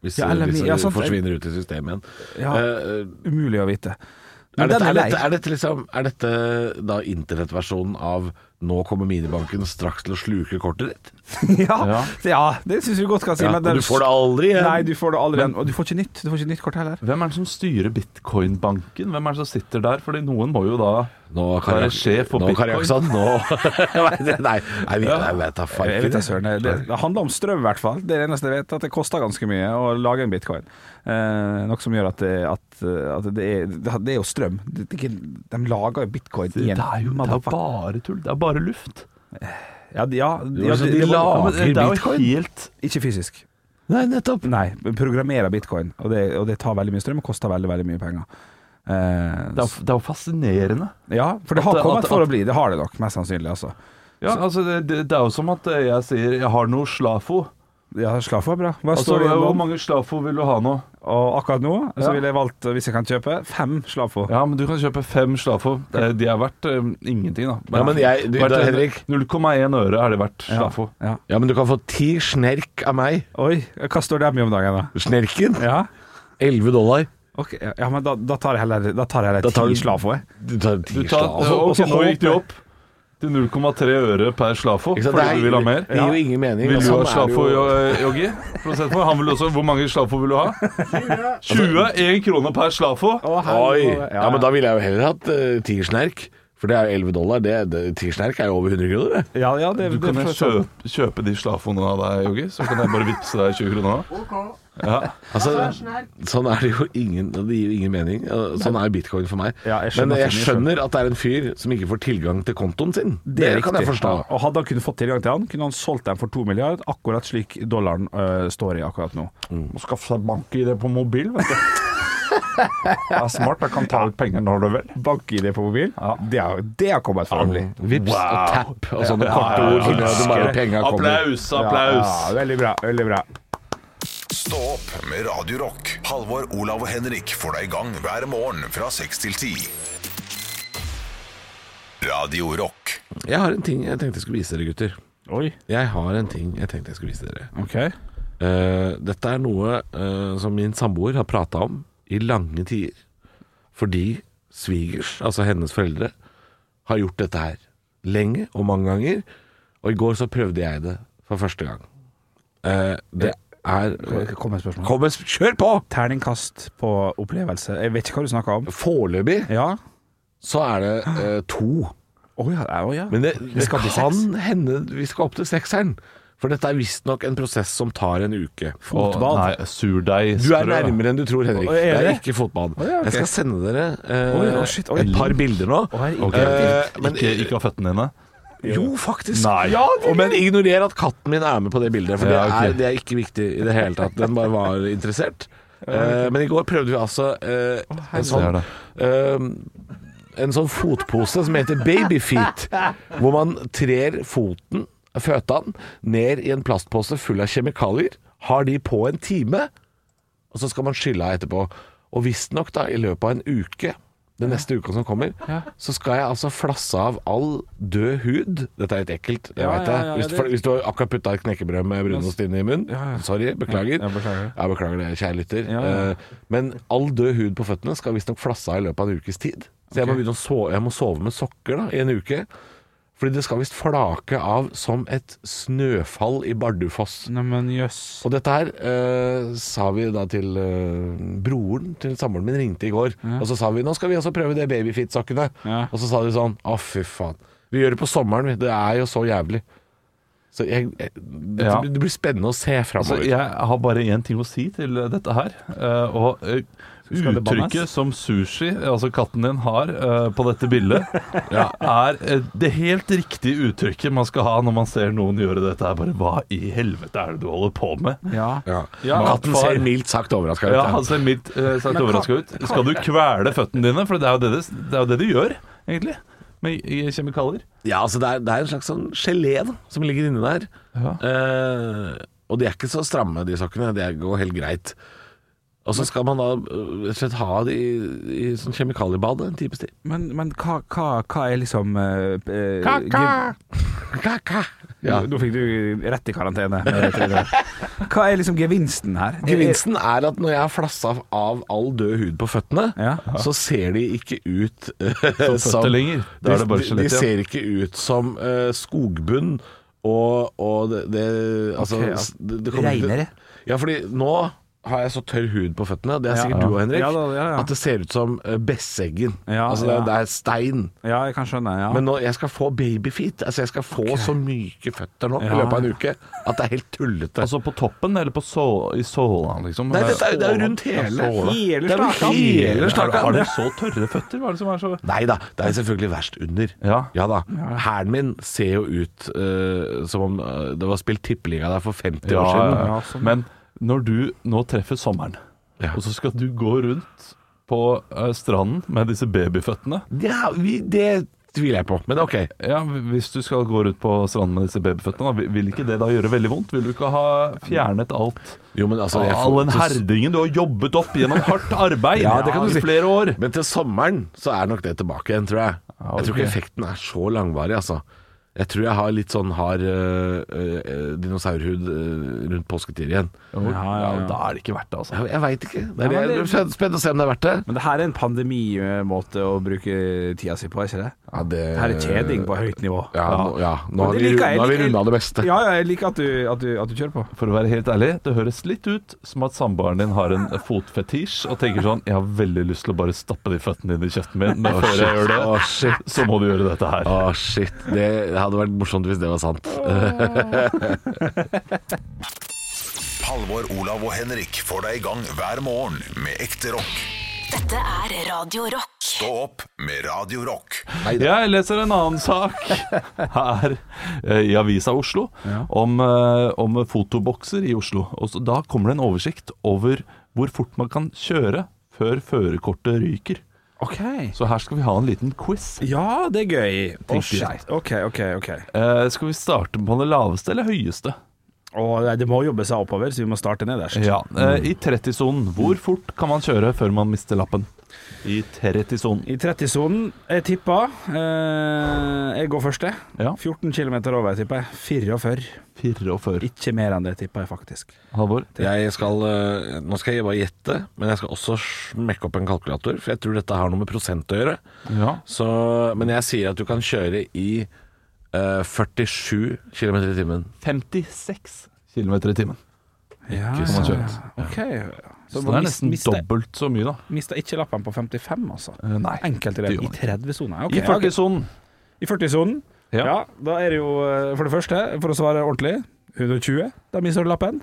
S3: Hvis,
S4: Ja, eller
S3: hvis
S4: mi-
S3: det
S4: ja, sånn- sant.
S3: forsvinner ut i systemet igjen.
S4: Ja,
S3: Eh,
S4: umulig å vite.
S3: er,
S4: Men
S3: dette,
S4: den
S3: er,
S4: er lei.
S3: dette, er, dette liksom, er dette da internettversjonen av 'nå kommer minibanken straks til å sluke kortet ditt'?
S4: ja, ja, det syns vi godt kan si.
S3: Ja,
S4: men den-
S3: og du får det aldri igjen.
S4: Nei, du får det aldri igjen. Og du får ikke nytt. Du får ikke nytt kort heller.
S5: Hvem er det som styrer bitcoin-banken? Hvem er det som sitter der? Fordi noen må jo da
S3: Nå
S5: Hva er det sjef for
S3: nå, Kari
S5: bitcoin?
S3: Jaksson, nå Nei, det- nei, nei, vi- nei, vet da faen
S4: Jeg vet da søren.
S3: ikke.
S4: Det, det handler om strøm, i hvert fall. Det er det eneste jeg vet, at det koster ganske mye å lage en bitcoin. Eh, noe som gjør at det, at, at det, er, det er jo strøm. Det, det, er ikke- de lager jo bitcoin i
S5: Det
S4: en
S5: er jo det er jo bare tull. Det er bare luft.
S4: Ja, de- ja, de-
S3: jo
S4: ja,
S3: sånn
S4: de-
S3: de
S4: det var-
S3: lager
S5: Ja, men det er jo
S3: bitcoin?
S5: helt
S4: Ikke fysisk.
S3: Nei, nettopp.
S4: Nei, programmerer bitcoin, og det, og det tar veldig mye strøm og koster veldig veldig mye penger. Eh,
S5: Det er jo- det er jo fascinerende.
S4: ja, for det
S5: at-
S4: har kommet
S5: at-
S4: for
S5: at-
S4: å bli. Det har det nok, mest sannsynlig. altså
S5: Ja, altså det, det, det er jo som at eh, jeg sier 'jeg har noe slafo'.
S4: Ja, Slaff var bra. Hva
S5: Altså,
S4: står det
S5: Hvor
S4: igjen nå?
S5: mange slafo vil du ha nå?
S4: Og akkurat nå så
S5: Ja.
S4: ville jeg valgt, hvis jeg kan kjøpe, fem Slaffo.
S5: Ja, men du kan kjøpe fem slafo. Eh, De er verdt eh, ingenting, da.
S3: Ja, men jeg- du-
S5: Verdt
S3: da,
S5: en-
S3: Henrik.
S5: 0,1 øre er det verdt slafo.
S4: Ja.
S3: Ja, men du kan få ti snerk av meg.
S4: Oi, hva står det mye om dagen, da?
S3: Snerken?
S4: Ja,
S3: 11 dollar.
S4: Ok, ja men da, da tar jeg heller Da tar jeg
S3: Da
S4: heller
S3: tar
S4: ti
S3: du-
S4: Slaffo, jeg.
S3: Du tar ti
S5: Du tar,
S3: slag.
S4: Og
S5: altså,
S4: så-
S5: ok,
S4: og så
S5: nå gikk de
S4: håper-
S5: opp til 0,3 øre per slafo
S3: Ikke sant?
S5: fordi du vil ha mer.
S3: Det gir jo ingen mening.
S5: Vil
S3: og
S5: du ha
S3: sånn er det
S5: slafo,
S3: jo.
S5: Jo- Joggi? Prosent for. sånn. Han vil også, hvor mange slafo vil du ha? 20! 1 krone per slafo.
S3: Oi. Ja, men da ville jeg jo heller hatt eh, ti snerk. For det er jo 11 dollar. Det, det, ti snerk er jo over 100 kroner, det.
S4: ja, ja, det,
S5: Du kan
S4: det,
S5: jeg kjøpe, kjøpe de slafoene av deg, Joggi, så kan jeg bare vippse deg 20 kroner.
S3: Altså, sånn er det jo ingen Det gir jo ingen mening. Eh, Sånn er bitcoin for meg.
S4: Ja, jeg skjønner
S3: Men jeg
S4: at det er mye
S3: skjønner at det er en fyr som ikke får tilgang til kontoen sin.
S4: Det er
S3: kan jeg
S4: riktig.
S3: forstå.
S4: Ja, Og hadde han kunnet fått tilgang til han, kunne han solgt dem for to milliard, akkurat slik dollaren øh, står i akkurat nå.
S3: Mm.
S5: Må skaffe seg bank-ID på mobil, vet du. Det er smart. Jeg kan ta ut penger når du vil.
S4: Bank-ID på mobil, det har det har kommet for å bli.
S3: Vips og tap og sånne korte ord som gjør at det bare penga kommer.
S5: Applaus, applaus.
S4: Ja, veldig bra, veldig bra.
S1: Stå opp med Radio Rock. Halvor, Olav og Henrik får deg i gang hver morgen fra 6 til 10. Radio Rock.
S3: Jeg har en ting jeg tenkte jeg skulle vise dere, gutter.
S4: Oi.
S3: Jeg har en ting jeg tenkte jeg skulle vise dere.
S4: Ok.
S3: Eh, dette er noe eh, som min samboer har prata om i lange tider. Fordi svigers, altså hennes foreldre, har gjort dette her. lenge og mange ganger. Og i går så prøvde jeg det for første gang. Eh, det er
S4: Kom med et spørsmål.
S3: Kom, med- kjør på!
S4: Terningkast på opplevelse. Jeg vet ikke hva du snakker om.
S3: Foreløpig
S4: Ja?
S3: så er det eh, to.
S4: Å ja. å ja.
S3: Men det, det
S4: skal til
S3: kan hende vi skal opp til sekseren. For dette er visstnok en prosess som tar en uke.
S4: Fotball.
S5: nei, surdeig.
S3: Du er
S5: sprø.
S3: nærmere enn du tror, Henrik.
S4: Å, er
S3: Det er
S4: det?
S3: ikke fotball.
S4: ja, ok.
S3: Jeg skal sende dere eh,
S4: Oi, å, shit, oi.
S3: et par bilder nå.
S4: Å, her er
S5: Ok,
S3: Eh,
S5: ikke-
S3: men-
S5: ikke, ikke av føttene dine?
S3: Jo, faktisk.
S5: Nei.
S3: Ja, det- Og, men ignorer at katten min er med på det bildet, for
S5: Ja, ok.
S3: det, er, det er ikke viktig i det hele tatt. Den bare var interessert. Eh, men i går prøvde vi altså eh, en,
S5: Det er
S3: sånn,
S5: det.
S3: eh, en sånn fotpose som heter babyfeet, hvor man trer foten, føttene, ned i en plastpose full av kjemikalier, har de på en time, og så skal man skylle av etterpå. Og visstnok, da, i løpet av en uke, den neste uka som kommer, så skal jeg altså flasse av all død hud. Dette er litt ekkelt, det vet jeg.
S4: ja, ja,
S3: hvis, du,
S4: det-
S3: hvis du har akkurat putta et knekkebrød med brunost inn i munnen, sorry, beklager.
S4: Ja, beklager det.
S3: Jeg beklager det, kjære lytter.
S4: Ja, ja.
S3: Eh, Men all død hud på føttene skal visstnok flasse av i løpet av en ukes tid. Så jeg må begynne å sove, jeg må sove med sokker da, i en uke. Fordi det skal visst flake av som et snøfall i Bardufoss.
S4: Neimen, jøss.
S3: Og dette her eh, sa vi da til eh, broren til samboeren min ringte i går. Og så sa vi nå skal vi også prøve det babyfit-sokkene.
S4: Ja.
S3: Og så sa de sånn å fy faen. Vi gjør det på sommeren, vi. Det er jo så jævlig. Så jeg, jeg, det,
S5: Ja.
S3: det blir spennende å se
S5: Altså,
S3: framover.
S5: jeg har bare én ting å si til eh, dette her. eh, og eh,
S4: Skal det bannes?
S5: uttrykket som sushi, altså katten din, har eh, på dette bildet, er eh, det helt riktige uttrykket man skal ha når man ser noen gjøre dette her. Bare hva i helvete er det du holder på med?
S4: Ja.
S3: ja.
S5: Ja,
S3: Katten
S5: far.
S3: ser mildt sagt overraska ut.
S5: Ja,
S3: ja.
S5: han ser mildt eh, sagt overraska ut. Skal du kvele føttene dine? For det er jo det, det, det, er jo det du gjør, egentlig. Med i i kjemikalier.
S3: Ja, altså det er, det er en slags sånn gelé da, som ligger inni der.
S5: Ja.
S3: Eh, og de er ikke så stramme, de sokkene. Det går helt greit. Og så skal man da eh, rett og slett ha det i, i sånn kjemikaliebad en times tid.
S4: Men, men hva, hva, hva er liksom eh, eh,
S3: Kaka! Kaka! Ja.
S4: Nå fikk du rett i karantene. med tre dager. Hva er liksom gevinsten her?
S3: Gevinsten er at når jeg har flassa av all død hud på føttene,
S4: Ja.
S3: så ser de ikke ut eh,
S5: Som føtter lenger. Da er det
S3: de,
S5: bare
S3: de
S5: skjelett igjen.
S3: ser ikke ut som eh, skogbunn og, og det, det Altså,
S4: Ok, ja.
S3: s- det, det kommer ikke-
S4: Regnere.
S3: Ja, fordi nå har jeg så tørr hud på føttene, det er
S4: Ja.
S3: sikkert du òg, Henrik,
S4: Ja, da, ja, ja.
S3: at det ser ut som eh, Besseggen.
S4: Ja,
S3: altså, det,
S4: ja.
S3: det er stein.
S4: Ja, jeg kan skjønne. Ja.
S3: Men nå, jeg skal få babyfeet. Altså, jeg skal få så myke føtter nå i
S4: Ja.
S3: løpet av en uke at det er helt tullete.
S5: Altså på toppen, eller på så, i såla, liksom?
S3: Nei, dette er, det er jo rundt hele
S4: Hele
S3: Det er jo
S4: stakan.
S3: hele
S5: Har
S3: stakan.
S5: har dere så tørre føtter? Hva er det som er så
S3: Nei da, det er selvfølgelig verst under.
S5: Ja.
S3: da. Hælen min ser jo ut eh, som om eh, det var spilt tippeliga der for 50
S5: ja,
S3: år
S5: ja,
S3: siden.
S5: ja.
S4: sånn.
S5: Men når du nå treffer sommeren,
S3: Ja.
S5: og så skal du gå rundt på eh, stranden med disse babyføttene
S3: Ja, vi, det tviler jeg på, men ok.
S5: Ja, Hvis du skal gå rundt på stranden med disse babyføttene, da, vil- vil ikke det da gjøre veldig vondt? Vil du ikke ha fjernet alt?
S3: Jo, men altså jeg
S5: All
S3: får-
S5: den
S3: til-
S5: herdingen du har jobbet opp gjennom hardt arbeid
S3: Ja, det kan du si.
S5: i flere år.
S3: Men til sommeren så er nok det tilbake igjen, tror jeg. Jeg tror
S5: ok.
S3: ikke effekten er så langvarig, altså. Jeg tror jeg har litt sånn hard øh, øh, dinosaurhud øh, rundt påsketid igjen.
S5: Ja, Da er det ikke verdt det, altså.
S3: Jeg, jeg veit ikke. Det
S4: Ja,
S3: er,
S4: men
S3: det-
S4: det-
S3: det er spennende å se om det er verdt det.
S4: Men det her er en pandemimåte å bruke tida si på, er ikke det?
S3: Ja, det
S4: Det her er kjeding på høyt nivå.
S3: Ja, nå, ja.
S4: Men
S3: nå har
S4: det
S3: vi, ru-
S4: liker jeg.
S3: nå har vi
S4: Jeg liker-
S3: runda det beste.
S4: Ja, ja, jeg liker at du, at du, at du kjører på.
S5: For å være helt ærlig, det høres litt ut som at samboeren din har en fotfetisj og tenker sånn Jeg har veldig lyst til å bare stappe de føttene dine i kjeften min, men før jeg gjør
S3: Å,
S5: det,
S3: shit.
S5: så må du gjøre dette her.
S3: Å, shit. Det hadde vært morsomt hvis det var sant.
S1: Halvor, Olav og Henrik får deg i gang hver morgen med ekte rock.
S2: Dette er Radio Rock.
S1: Stå opp med Radio Rock.
S5: Jeg leser en annen sak her eh, i Avisa Oslo om, eh, om fotobokser i Oslo. Og så, da kommer det en oversikt over hvor fort man kan kjøre før førerkortet ryker.
S4: Ok.
S5: Så her skal vi ha en liten quiz.
S4: Ja, det er gøy. Å,
S5: Tenkte jeg.
S4: shit. Ok, ok, ok.
S5: Eh, skal vi starte på det laveste eller høyeste?
S4: Å, nei, det må jobbe seg oppover, så vi må starte nederst.
S5: Ja, eh, I 30-sonen, hvor fort kan man kjøre før man mister lappen? Mm. I 30-sonen.
S4: I 30-sonen, jeg tipper eh, Jeg går først, jeg.
S5: Ja.
S4: 14 km over, tipper jeg. 44.
S5: 44.
S4: Ikke mer enn det, tipper jeg faktisk.
S5: Halvor?
S3: Jeg skal, øh, nå skal jeg bare gjette, men jeg skal også smekke opp en kalkulator, for jeg tror dette har noe med prosent å gjøre.
S5: Ja.
S3: Så, men jeg sier at du kan kjøre i eh, 47 km i timen.
S5: 56 km i timen.
S4: Ja,
S3: Ikke sant.
S4: OK. Så
S5: Så det er
S4: mist-
S5: nesten
S4: miste-
S5: dobbelt så mye, da.
S4: Mista ikke lappen på 55, altså.
S5: Eh, Nei.
S4: Enkelt i
S5: det
S4: det.
S5: gjør
S4: I
S5: man ikke.
S4: 30-sona.
S5: I 40-sonen.
S4: I 40-sonen?
S5: Ja.
S4: Ja. Da er det jo, eh, for det første, for å svare ordentlig, 120. Da mister du lappen.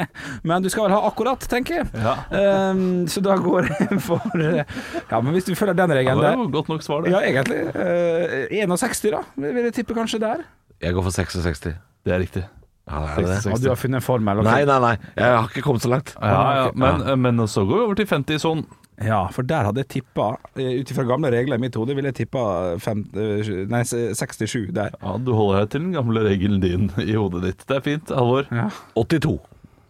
S4: men du skal vel ha akkurat, tenker jeg.
S5: Ja.
S4: Ehm, så da går jeg for eh, Ja, men hvis du følger den
S5: Ja,
S4: regelen
S5: det
S4: der
S5: var jo godt nok svar, det.
S4: Ja, egentlig. eh, 61, da, vil vil jeg tippe kanskje der.
S3: Jeg går for 66.
S5: Det er riktig.
S3: Ja, det er det.
S5: 66.
S4: Ja, du har funnet en formel? ok.
S3: Nei, nei, nei. Jeg har ikke kommet så langt.
S5: Ja, ja, men, eh, men så går vi over til 50-sonen.
S4: Ja, for der hadde jeg tippa, ut ifra gamle regler i mitt hode, ville jeg tippa fem- eh, sju- nei, se- 67 der.
S5: Ja, du holder deg til den gamle regelen din i hodet ditt. Det er fint, Halvor.
S3: 82.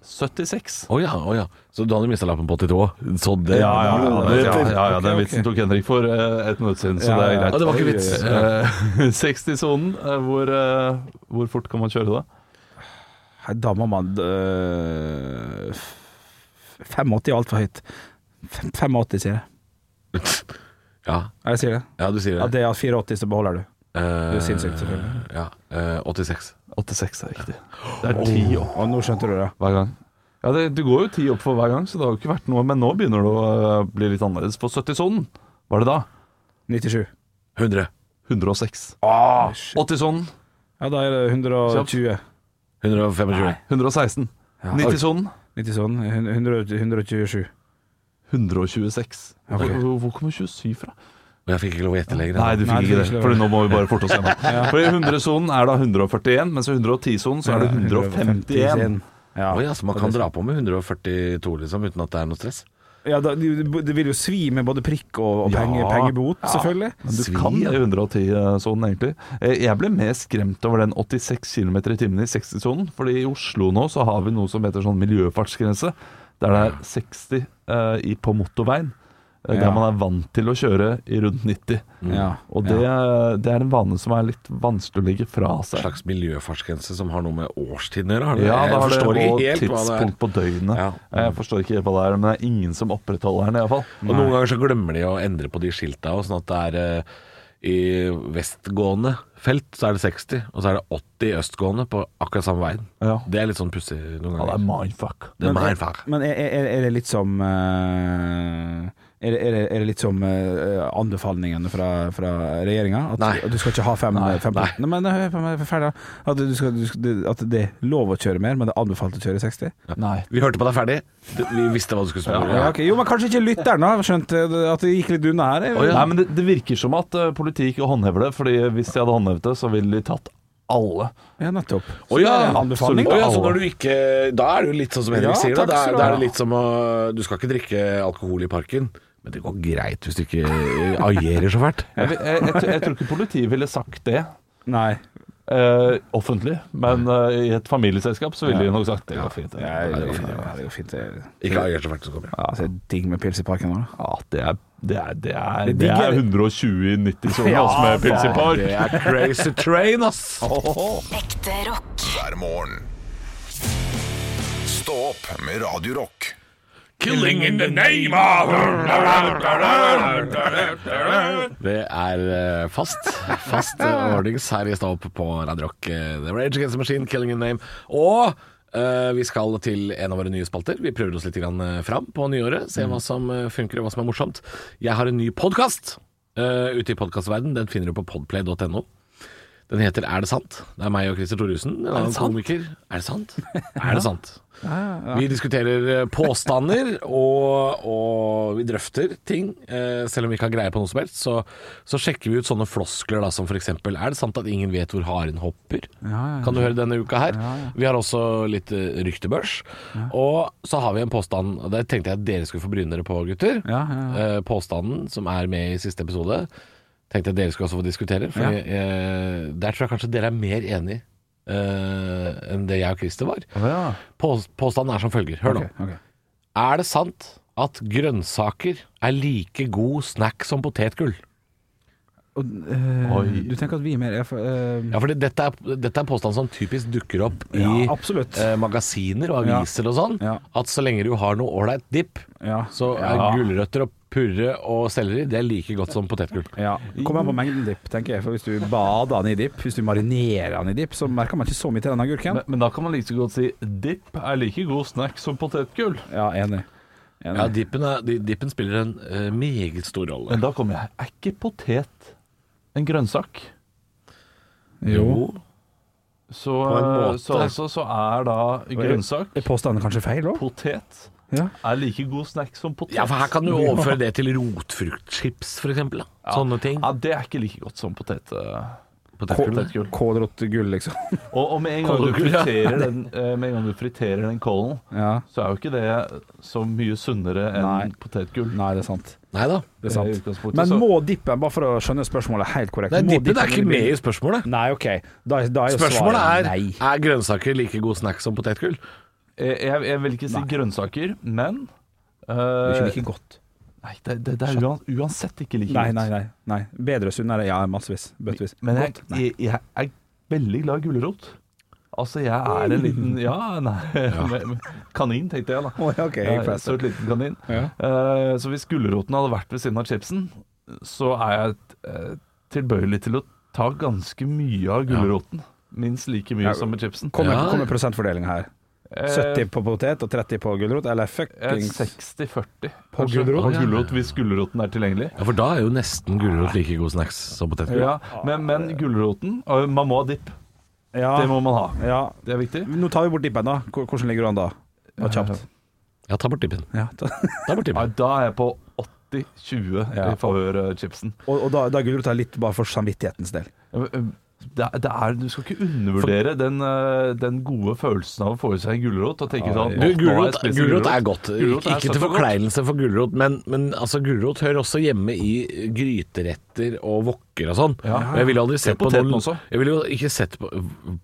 S5: 76.
S3: Å ja, å ja. Så du hadde mista lappen på 82 òg? Så det
S5: Ja, ja, ja, det, ja, ja, ja,
S4: Ok,
S5: den
S4: ok.
S5: vitsen tok Henrik for eh, et minutt siden, så
S4: Ja,
S5: det er
S4: ja.
S5: greit.
S3: Og det var ikke vits.
S5: Eh, 60-sonen, eh, hvor, eh, hvor fort kan man kjøre da?
S4: Nei, Da må man øh, f- 85 er altfor høyt. Fem- 85, sier jeg.
S3: Ja,
S4: Ja, jeg sier det.
S3: ja, du sier
S4: Ja,
S3: det.
S4: det er 84, så beholder du.
S3: Eh,
S4: Det er sinnssykt, selvfølgelig.
S3: Ja. eh, 86.
S5: 86 er riktig. Det er ti opp
S4: Og nå skjønte du det.
S5: hver gang. Ja, det, Du går jo ti opp for hver gang, så det har jo ikke vært noe. Men nå begynner det å eh, bli litt annerledes. På 70-sonen var det da
S4: 97.
S3: 100.
S5: 106. Ah!
S4: shit.
S5: 80-sonen
S4: Ja, da er det 120.
S3: 125.
S5: 116. 90-sonen
S4: 90 sånn. Hun- 100 127.
S5: 126.
S4: Ok.
S5: Hvor, hvor- hvor kommer 27 fra?
S3: Og jeg fikk ikke lov å gjette lenger.
S5: Nei, du
S4: Nei, du
S5: fikk ikke
S4: fikk
S5: det,
S4: ikke lov.
S5: for nå må vi bare forte oss gjennom. For i 100-sonen er da 141, mens i 110-sonen så er det 151.
S4: Ja,
S3: Å ja, så Altså, man kan dra på med 142 liksom, uten at det er noe stress?
S4: ja da, det det vil jo svi med både prikk og, og
S5: Ja.
S4: penge, pengebot,
S5: Ja.
S4: selvfølgelig.
S5: Men du kan det i 110-sonen, egentlig. Eh, Jeg ble mer skremt over den 86 km i timen i 60-sonen. Fordi i Oslo nå så har vi noe som heter sånn miljøfartsgrense, der det er 60 eh, i, på motorveien. eh, Der
S4: Ja.
S5: man er vant til å kjøre i rundt 90.
S3: Mm.
S4: Ja.
S5: Og det, eh, det er en vane som er litt vanskelig å legge fra
S3: En
S5: seg.
S3: slags miljøfartsgrense som har noe med årstiden å gjøre? har det?
S5: Ja, da
S3: jeg
S5: har det
S3: forstår
S5: og
S3: ikke helt hva det er.
S5: tidspunkt på døgnet. Eh,
S3: Ja.
S5: Jeg forstår ikke helt hva det er, men det er ingen som opprettholder den iallfall.
S3: Og noen ganger så glemmer de å endre på de skilta og sånn at det er eh, i vestgående felt så er det 60, og så er det 80 i østgående på akkurat samme veien.
S5: Ja.
S3: Det er litt sånn pussig noen
S5: Ja, det er
S3: ganger.
S5: mindfuck.
S3: Det er
S4: Men-
S3: mer far.
S4: Men er, er, er det litt som eh, er det, er, det, er det litt som eh, anbefalingene fra, fra regjeringa? At,
S3: Nei.
S4: at du skal ikke ha fem, fem nei. nei, men hør på meg, ferdig. da. At, du skal, du skal, at det er lov å kjøre mer, men det er anbefalt å kjøre 60?
S5: Nei.
S3: Vi hørte på deg ferdig. Du- Vi visste hva du skulle spørre.
S4: Ja, ok. Jo, men kanskje ikke lytteren har skjønt eh, at det gikk litt unna her?
S5: Nei, men det, det virker som at eh, politiet ikke håndhever det, Fordi hvis de hadde håndhevet det, så ville de tatt alle.
S4: Ja, nettopp.
S3: Å ja,
S4: det er en anbefaling,
S3: Å ja,
S4: da.
S3: så når du ikke Da er det jo litt sånn som Henrik
S4: Ja,
S3: sier, da.
S4: takk
S3: Da, er-
S4: skal du
S3: da
S4: ha.
S3: er det litt som å Du skal ikke drikke alkohol i parken, men det går greit hvis du ikke agerer så fælt.
S5: Jeg, jeg, jeg, tror- jeg tror ikke politiet ville sagt det
S4: Nei.
S5: eh, offentlig, men eh, i et familieselskap så ville de nok sagt det går fint.
S4: Ja, det går fint. Ja, det går fint. det-
S3: Ikke ager så fælt som kommer.
S4: Ja, så er det digg med pils i parken nå, da.
S5: Ja, det er, det er, det er,
S4: Det
S5: det er
S4: digger-
S5: 120 i 90-sonen altså, med pils i park.
S3: Det er crazy train, ass!
S2: Ekte rock.
S1: hver morgen. Stå opp med Radio Rock.
S3: Killing in the name of Det er eh, fast Fast eh, ordnings her i stå opp på Radio Rock eh, The Rage Against the Machine, Killing in the name Og eh, vi skal til en av våre nye spalter Vi prøver oss litt grann eh, fram på nyåret Se hva som eh, funker og hva som er morsomt Jeg har en ny podcast eh, Ute i podcastverden, den finner du på podplay.no den heter Er det sant? Det er meg og Christer Thoresen, en annen komiker. Er det sant? Er det sant? Vi diskuterer eh, påstander, og, og vi drøfter ting. Eh, selv om vi ikke har greie på noe som helst, så, så sjekker vi ut sånne floskler da, som f.eks.: Er det sant at ingen vet hvor haren hopper? Kan du høre denne uka her? Vi har også litt eh, ryktebørs. Og så har vi en påstand, og det tenkte jeg at dere skulle få bryne dere på, gutter. Eh, påstanden som er med i siste episode, tenkte jeg dere skulle også få diskutere. For eh, der tror jeg kanskje dere er mer enig eh, enn det jeg og Christer var. Pås- Påstanden er som følger. Hør nå. Er det sant at grønnsaker er like god snack som potetgull?
S4: Og, eh, du tenker at vi er mer er for, eh,
S3: Ja, for dette er, dette er en påstand som typisk dukker opp i
S4: Ja, absolutt.
S3: eh, magasiner og aviser og sånn.
S4: Ja.
S3: At så lenge du har noe ålreit dipp,
S4: Ja.
S3: så er gulrøtter og purre og selleri, det er like godt som potetgull.
S4: Ja. Kom an på mengden dipp, tenker jeg. For hvis du bader den i dipp, hvis du marinerer den i dipp, så merker man ikke så mye til den agurken.
S5: Men, men da kan man like så godt si dipp er like god snack som potetgull.
S4: Ja, enig. enig.
S3: Ja, dippen, er, di- dippen spiller en eh, meget stor rolle.
S5: Men da kommer jeg Er ikke potet en grønnsak?
S4: jo.
S5: Så,
S3: en måte.
S5: så altså så er da grønnsak
S4: Er påstanden kanskje feil òg?
S5: Potet
S4: Ja.
S5: er like god snack som potet.
S3: Ja, for her kan du overføre det til rotfruktchips, f.eks. Ja. Sånne ting.
S5: Ja, det er ikke like godt som potet. eh,
S3: Potetgull.
S5: Potetgull.
S4: Kålrottegull, liksom.
S5: Og, og med, en gang du
S3: Kålgull, ja.
S5: friterer den, eh, med en gang du friterer den kålen,
S4: Ja.
S5: så er jo ikke det så mye sunnere enn
S4: Nei.
S5: potetgull.
S4: Nei, det er sant.
S3: Nei da.
S4: Det er
S5: I
S4: sant.
S5: utgangspunktet,
S4: Men
S5: så-
S4: må dippen, bare for å skjønne spørsmålet helt korrekt
S3: Nei,
S4: må
S3: dippen er
S4: inn i
S3: ikke med
S4: bildet?
S3: i spørsmålet.
S4: Nei, OK. Da, da er jo
S3: Spørsmålet
S4: svaret
S3: er
S4: nei.
S3: Er grønnsaker like god snack som potetgull.
S5: Eh, Jeg, jeg vil ikke si grønnsaker, men eh,
S4: Det er ikke like godt.
S5: Nei, det, det, det er uan, uansett ikke like
S4: Nei,
S5: godt.
S4: nei, nei. nei. Bedre og sunnere, ja, massevis. Bøttevis.
S5: Men jeg,
S4: Godt? Nei.
S5: jeg, jeg er veldig glad i gulrot. Altså, jeg er en liten Ja, nei men- men- Kanin, tenkte jeg, da.
S4: Å, ja, ok, jeg
S5: Jeg
S4: gikk
S5: er
S4: fast.
S5: så et liten kanin.
S4: Ja.
S5: Eh, så hvis gulroten hadde vært ved siden av chipsen, så er jeg eh, tilbøyelig til å ta ganske mye av gulroten. Minst like mye
S4: Ja.
S5: som med chipsen.
S4: Kommer,
S3: Ja.
S4: kommer prosentfordelinga her?
S5: Eh,
S4: 70 på potet og 30 på gulrot, eller
S5: eh,
S4: fuckings
S5: 60-40
S4: På
S5: kanskje.
S4: gulrot?
S5: På gulrot, Hvis gulroten er tilgjengelig.
S3: Ja, For da er jo nesten gulrot like god snacks som potetgull.
S5: Ja, men, men gulroten og Man må ha dipp.
S4: Ja.
S5: Det må man ha.
S4: ja.
S5: Det er viktig.
S4: Nå tar vi bort dippen, da. Hvor- Hvordan ligger du an da? Bare kjapt.
S3: Ja, ta bort dippen.
S4: Ja, da.
S3: Ta bort
S5: Ja,
S3: dippen.
S5: da er jeg på 80-20
S4: Ja.
S5: i favør eh, chipsen. Eh,
S4: Og, og da, da er gulrota litt bare for samvittighetens del.
S5: Det, er- det er, du skal ikke undervurdere den, eh, den gode følelsen av å få i seg en gulrot og tenke sånn
S3: Du,
S5: «Nå- nå har jeg
S3: gulrot,
S5: spist en
S3: gulrot er godt.
S5: Gulrot er
S3: Ikke
S5: søtt
S3: til
S5: og godt.
S3: forkleinelse for gulrot, men, men altså, gulrot hører også hjemme i gryteretter og wokker og sånn.
S5: Ja.
S3: Og Jeg ville aldri sett
S5: Det er
S3: på noen
S5: poteten også.
S3: Jeg ville jo ikke sett på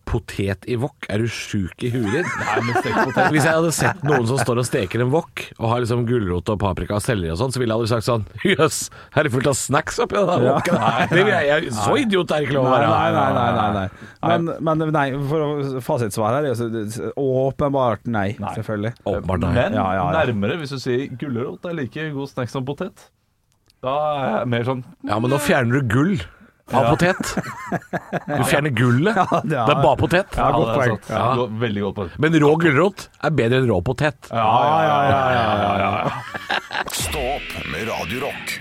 S3: Potet i wok? Er du sjuk i huet?
S5: Nei, men stekt potet
S3: Hvis jeg hadde sett noen som står og steker en wok, og har liksom gulrot og paprika og selleri og sånn, så ville jeg aldri sagt sånn Jøss, her er det fullt av snacks oppi den der woken. Det vil jeg, jeg, så idiot er det ikke lov å
S4: Nei,
S3: være.
S4: nei, nei. nei, nei, nei. Men, men nei, for å- fasitsvar her er jo så- åpenbart nei, selvfølgelig.
S3: Åpenbart nei.
S5: Men
S4: Ja, ja, ja.
S5: nærmere hvis du sier gulrot er like god snack som potet. Da er jeg mer sånn
S3: Ja, men nå fjerner du gull av potet. Du fjerner gullet. Det
S4: ja.
S3: er bare potet.
S4: Ja, godt
S5: det er
S4: poeng.
S5: sant.
S3: Ja.
S5: Go- Veldig godt poeng.
S3: Men rå gulrot er bedre enn rå potet.
S5: Ja, ja, ja, ja, ja, ja, ja.
S1: Stå opp med Radio Rock.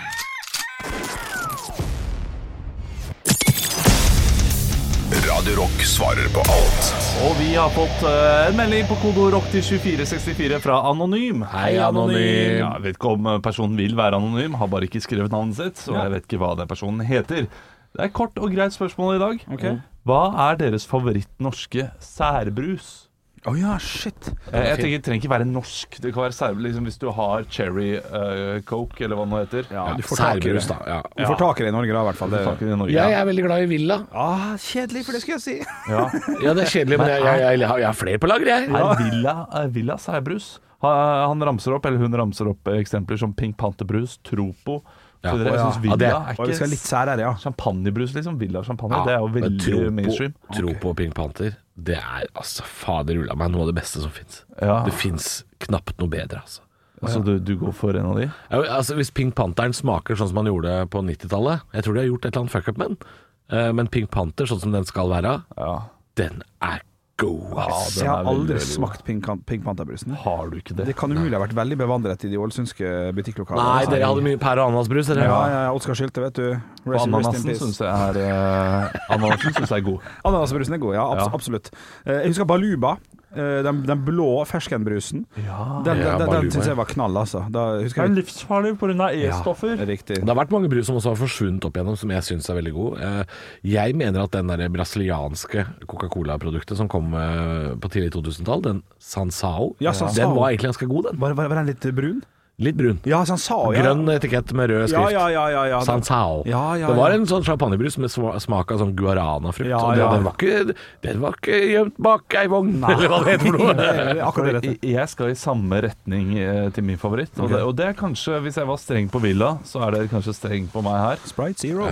S1: Radio Rock svarer på alt.
S5: Og vi har fått eh, en melding på kode rock til 2464 fra Anonym.
S3: Hei, Anonym.
S5: Ja, jeg vet ikke om eh, personen vil være anonym, har bare ikke skrevet navnet sitt, så jeg vet ikke hva den personen heter. Det er kort og greit spørsmål i dag. Hva er deres favoritt-norske særbrus?
S4: Å ja, shit.
S5: Eh, Jeg tenker Det trenger ikke være norsk. Det kan være særbrus liksom, hvis du har cherry eh, coke, eller hva det nå heter.
S4: Ja, du får tak i det.
S3: Særbrus, da. Ja.
S4: Du får tak i det i Norge, da, i hvert fall. Det,
S5: Takk i Norge.
S3: Jeg er veldig glad i Villa.
S4: ah, kjedelig, for det skulle jeg si.
S5: Ja.
S3: Ja, det er kjedelig, men jeg, jeg, jeg, jeg, har- jeg har flere på lager, jeg.
S5: Er Villa, er Villa særbrus? Ha- Han ramser opp, eller hun ramser opp eh, eksempler som Pink Pantherbrus, Tropo. Så
S3: Å,
S5: dere, jeg
S3: ja.
S5: synes
S3: Ja, det
S5: Villa
S3: er-
S5: er
S4: Og vi skal
S5: ikke
S4: litt sær her, ja.
S5: champagnebrus, liksom. Villa champagne. det er jo
S3: men
S5: veldig
S3: tro på-
S5: mainstream.
S3: Tro på Pink Panther. Det er altså fader ulla meg noe av det beste som fins.
S5: Ja.
S3: Det fins knapt noe bedre, altså.
S5: Så du, du går for en av de?
S3: Ja, altså Hvis Pink Pantheren smaker sånn som han gjorde på 90-tallet Jeg tror de har gjort et eller annet fuck up med den. Eh, Men Pink Panther, sånn som den skal være,
S5: Ja.
S3: den er god, ass.
S4: Jeg har
S5: veldig,
S4: aldri
S5: veldig
S4: smakt Pink, Pink Panther-brusen. jeg.
S5: Har du ikke det?
S4: Det kan umulig ha vært veldig bevandret i de ålesundske butikklokalene. Altså,
S3: Nei, dere hadde mye pære- og ananasbrus, dere.
S4: Ja, ja, ja, Oskar Skylte, vet du. Rest- rest in
S5: Ananasen
S4: peace.
S5: syns jeg er eh, Ananasen synes jeg er god.
S4: Ananasbrusen er god, ja. Abs
S5: Ja.
S4: Absolutt. Eh, Jeg husker Baluba. eh, Den, den blå ferskenbrusen. Den, den,
S3: Ja,
S4: den,
S3: Baluba,
S4: den syns
S3: ja.
S4: jeg var knall, altså. Da husker jeg
S5: livsfarlig pga.
S4: Ja, riktig.
S3: Det har vært mange brus som også har forsvunnet opp igjennom, som jeg syns er veldig god. Eh, Jeg mener at den der brasilianske Coca-Cola-produktet som kom eh, på tidlig 2000-tall, den Sansao,
S4: Ja, Sansao.
S3: den var egentlig ganske god, den.
S4: Var, var, var den litt brun?
S3: Litt brun.
S4: Ja, så han sa jo
S3: Grønn etikett med rød
S4: Ja,
S3: skrift.
S4: ja, ja. ja, ja.
S3: Sansao.
S4: Ja, ja,
S3: det var
S4: ja.
S3: en sånn champagnebrus med sma- smak av sånn guaranafrukt.
S4: Ja,
S3: og det,
S4: ja.
S3: den, var ikke, den var ikke gjemt bak ei vogn, eller hva det heter for noe.
S4: Det er Akkurat det rette.
S5: Jeg- Jeg skal i samme retning eh, til min favoritt. Og, det, og det er kanskje, hvis jeg var streng på Villa, så er det kanskje streng på meg her.
S4: Sprite Zero.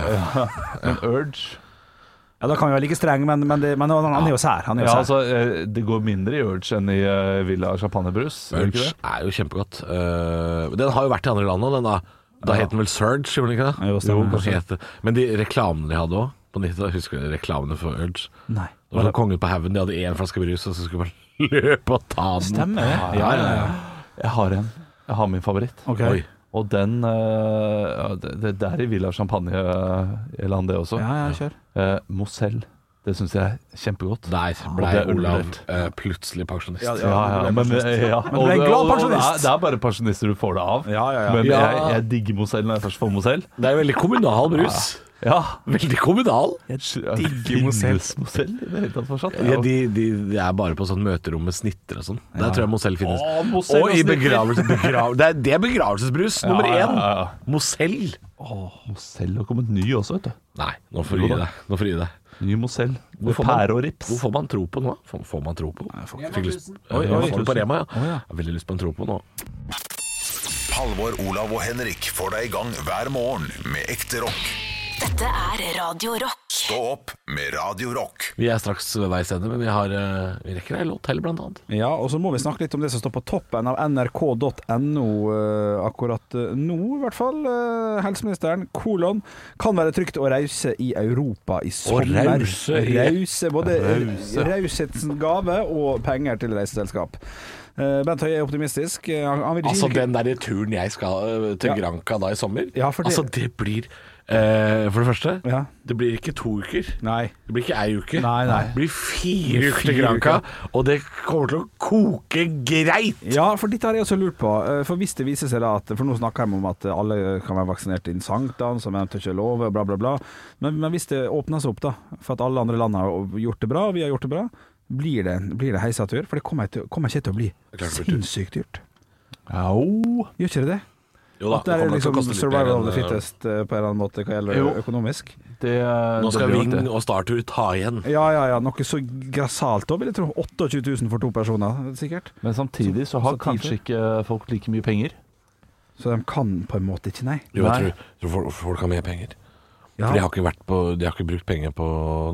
S5: Men Urge
S4: Ja, da kan vi være like streng, men, men, det, men han, han er jo sær. Han er jo
S5: Ja,
S4: sær.
S5: altså, eh, det går mindre i Urge enn i eh, Villa champagnebrus. gjør det ikke
S3: Punch
S5: det?
S3: er jo kjempegodt. Eh, den har jo vært i andre land òg, den da. Da het den vel Surge, gjorde den ikke det?
S4: Jo, stemmer.
S3: kanskje het det. Men de reklamene de hadde òg, på 90-tallet, husker du reklamene for Urge?
S4: Nei.
S3: Det var sånn Kongen på haugen, de hadde én flaske brus, og så skulle man løpe og ta den.
S4: Stemmer det?
S3: Ja, ja, ja.
S5: Jeg har en. Jeg har min favoritt.
S4: Ok.
S3: Oi.
S5: Og den eh, ja, det, det det er i Villa Champagne eh, land, det også.
S4: Ja, ja, kjør.
S5: Eh, Moselle. Det syns jeg er kjempegodt.
S3: Der
S5: Og
S3: blei
S5: det er
S3: Olav
S5: undervurdert.
S3: eh, plutselig pensjonist.
S5: Ja, ja, men, eh, ja.
S4: du er en
S5: og-
S4: glad
S5: og- og
S4: pensjonist.
S5: Det er, det er bare pensjonister du får det av.
S4: Ja, ja, ja.
S5: Men
S3: Ja.
S5: jeg, jeg digger Moselle når jeg først får Moselle.
S3: Det er veldig kommunal brus.
S5: Ja.
S3: Veldig kommunal.
S4: digger Moselle.
S5: Finnes Moselle i det hele tatt fortsatt?
S3: Ja, de, de, de er bare på sånn møterom med snitter og sånn. Der tror jeg Mozell finnes.
S5: Å, Mozell
S3: og
S5: og
S3: i
S5: snitter.
S3: begravelse, begrav, det, er, det er begravelsesbrus nummer
S5: ja,
S3: én.
S5: ja, ja.
S3: Mozell.
S5: Åh, Moselle har kommet ny også, vet du.
S3: Nei, nå får du gi deg. Nå får du gi deg.
S5: Ny Mozell. Med
S3: Hvor får man-
S5: pære og rips.
S3: Hvor får man tro på nå? Får, får man tro på? Jeg fikk lyst
S5: Oi,
S3: Oi,
S5: oi,
S3: får den på Rema, ja. Jeg har veldig lyst på en tro på nå.
S1: Halvor, Olav og Henrik får deg i gang hver morgen med ekte rock.
S2: Dette er Radio Rock.
S1: Stå opp med Radio Rock.
S3: Vi er straks ved veis ende, men vi, har, eh, vi rekker ei låt til, blant annet.
S4: Ja, og så må vi snakke litt om det som står på toppen av nrk.no eh, akkurat eh, nå, i hvert fall. Eh, helseministeren, kolon. Kan være trygt å reise i Europa i sommer.
S3: rause i-
S4: Rause, både
S5: Rause.
S4: raushetens gave og penger til reiseselskap. Eh, Bent Høie er optimistisk. Eh, Han han vil ikke
S3: Altså, den der turen jeg skal eh, til
S4: Ja.
S3: Granca da i sommer,
S4: Ja, for det-
S3: altså, det blir eh, For det første,
S4: Ja.
S3: det blir ikke to uker.
S4: Nei.
S3: Det blir ikke ei uke.
S4: Nei, nei.
S3: Det blir fire uker til
S4: Fire
S3: Granca, og det kommer til å koke greit!
S4: Ja, for dette har jeg også lurt på. Eh, For hvis det viser seg da at For nå snakker de om at alle kan være vaksinert innen sankthans, som jeg ikke lover, bla, bla, bla. Men, men hvis det åpner seg opp, da, for at alle andre land har gjort det bra, og vi har gjort det bra, blir det, blir det heisatur? For det kommer, til, kommer ikke til å bli sinnssykt dyrt.
S5: Au.
S4: Gjør ikke det det?
S3: Jo da,
S4: At det er
S3: kommer til å
S4: liksom
S3: koste litt
S4: survival
S3: mer
S4: of the
S3: enn, eh,
S4: fittest eh, på en eller annen måte hva gjelder
S5: Jo.
S4: økonomisk.
S5: Det, eh,
S3: Nå
S5: det
S3: skal
S5: blir nok
S3: Ving
S5: det.
S3: og Startur ta igjen.
S4: Ja, ja, ja. Noe så grassat da vil jeg tro. 28 000 for to personer, sikkert.
S5: Men samtidig så har kanskje ikke eh, folk like mye penger.
S4: Så de kan på en måte ikke, nei.
S3: Jo, jeg
S5: Nei.
S3: tror, tror folk, folk har mer penger.
S4: Ja,
S3: For de har, ikke vært på, de har ikke brukt penger på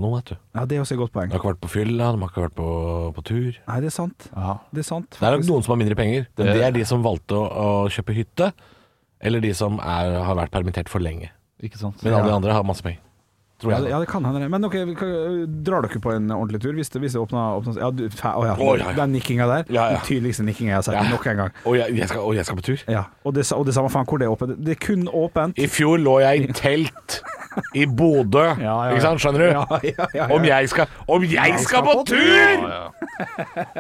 S3: noe, vet du.
S4: ja det er også et godt poeng.
S3: De har ikke vært på fylla, de har ikke vært på, på tur.
S4: Nei, det er sant. Det er sant.
S3: Det er nok noen som har mindre penger, men
S5: Det-
S3: det er de som valgte å, å kjøpe hytte, eller de som er, har vært permittert for lenge.
S5: Ikke sant?
S3: Men alle de andre har masse penger. Tror
S4: Ja,
S3: jeg.
S5: altså.
S4: det- ja, det kan hende. det. Men ok, vi kan- drar dere på en ordentlig tur hvis det, hvis det åpner, åpner ja, du, fa, å, ja,
S3: Å, ja, ja.
S4: Den nikkinga der.
S3: Ja, ja.
S4: Den tydeligste nikkinga jeg har sett
S3: Ja.
S4: nok en gang.
S3: Og jeg, jeg, skal, og jeg skal på tur.
S4: Ja. Og, det, sa- og det samme faen hvor det er åpent. Det er kun åpent.
S3: I fjor lå jeg i telt i Bodø,
S4: Ja, ja,
S3: ikke sant? Skjønner du?
S4: Ja, ja, ja, ja.
S3: Om jeg skal, om jeg skal på tur!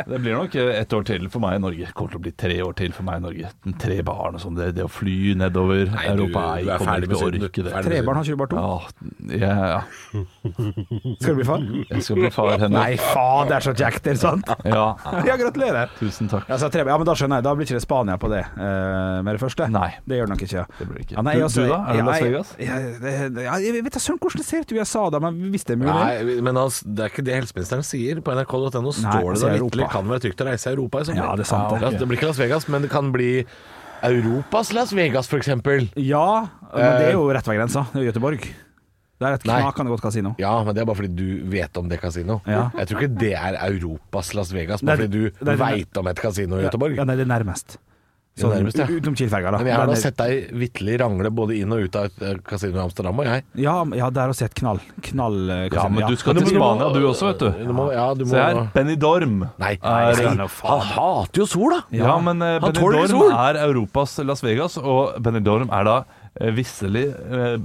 S5: Det blir nok eh, ett år til for meg i Norge. Det kommer til å bli tre år til for meg i Norge. Tre barn og sånn. Det, det å fly nedover
S3: Nei, du-
S5: Europa
S3: du er
S5: jeg kommer
S3: ferdig
S5: ikke til å
S3: med synden, du.
S5: orke det.
S3: Ferdig.
S4: Tre barn, har ikke du bare to?
S5: Ja, ja, ja.
S4: Skal du bli far?
S5: Jeg skal bli far henne.
S4: Nei, faen, det er så kjekt, det er sant?
S5: Ja.
S4: Ja, gratulerer.
S5: Tusen takk.
S4: Ja, så tre, ja, men da skjønner jeg. Da blir ikke det Spania på det eh, med det første.
S5: Nei.
S4: Det gjør det nok ikke.
S5: Det blir det ikke.
S4: Ja, nei,
S5: Du-
S4: altså,
S5: du da? Er det
S4: ja,
S5: Las
S4: jeg-
S5: Vegas?
S4: Ja, det- ja, jeg vet da søren hvordan det ser ut i USA, da, men hvis det er mulig.
S3: Nei, men altså, det er ikke det helseministeren sier. På nrk.no
S4: Nei,
S3: står
S4: han
S3: det
S4: sier
S3: der
S4: Europa.
S3: vitterlig kan være trygt å reise i Europa i sommer.
S4: Ja, det er sant, det.
S3: altså, Ja, det blir ikke Las Vegas, men det kan bli Europas Las Vegas, for eksempel.
S4: Ja, men det er jo rett ved grensa. Det er jo Gøteborg. Det er et
S3: Eh. Nei.
S4: knakende godt kasino.
S3: Ja, men det er bare fordi du vet om det kasino.
S4: Ja.
S3: Jeg tror ikke det er Europas Las Vegas,
S4: Nei,
S3: bare fordi
S4: nei,
S3: du
S4: nei.
S3: veit om et kasino i Göteborg.
S4: Ja, nei, det er nærmest.
S3: Det er nærmest, ja.
S4: u- Utenom Kielferga, da.
S3: Men jeg har
S4: Den
S3: da
S4: er-
S3: sett deg vitterlig rangle både inn og ut av et eh, kasino i Amsterdam, og jeg.
S4: ja, ja, der også et knall. Knall eh,
S5: Ja,
S4: kasino,
S5: men du skal
S3: Men
S5: til
S3: du må-
S5: Spania du også, vet
S3: Du må,
S5: du.
S3: ja, du må
S5: Se her. Benidorm.
S3: Nei,
S5: Er-
S3: nei, nei. han hater jo sol, da!
S5: Ja, men eh,
S3: Han tåler ikke
S5: Benidorm
S3: sol!
S5: er Europas Las Vegas, og Benidorm er da eh, visselig eh,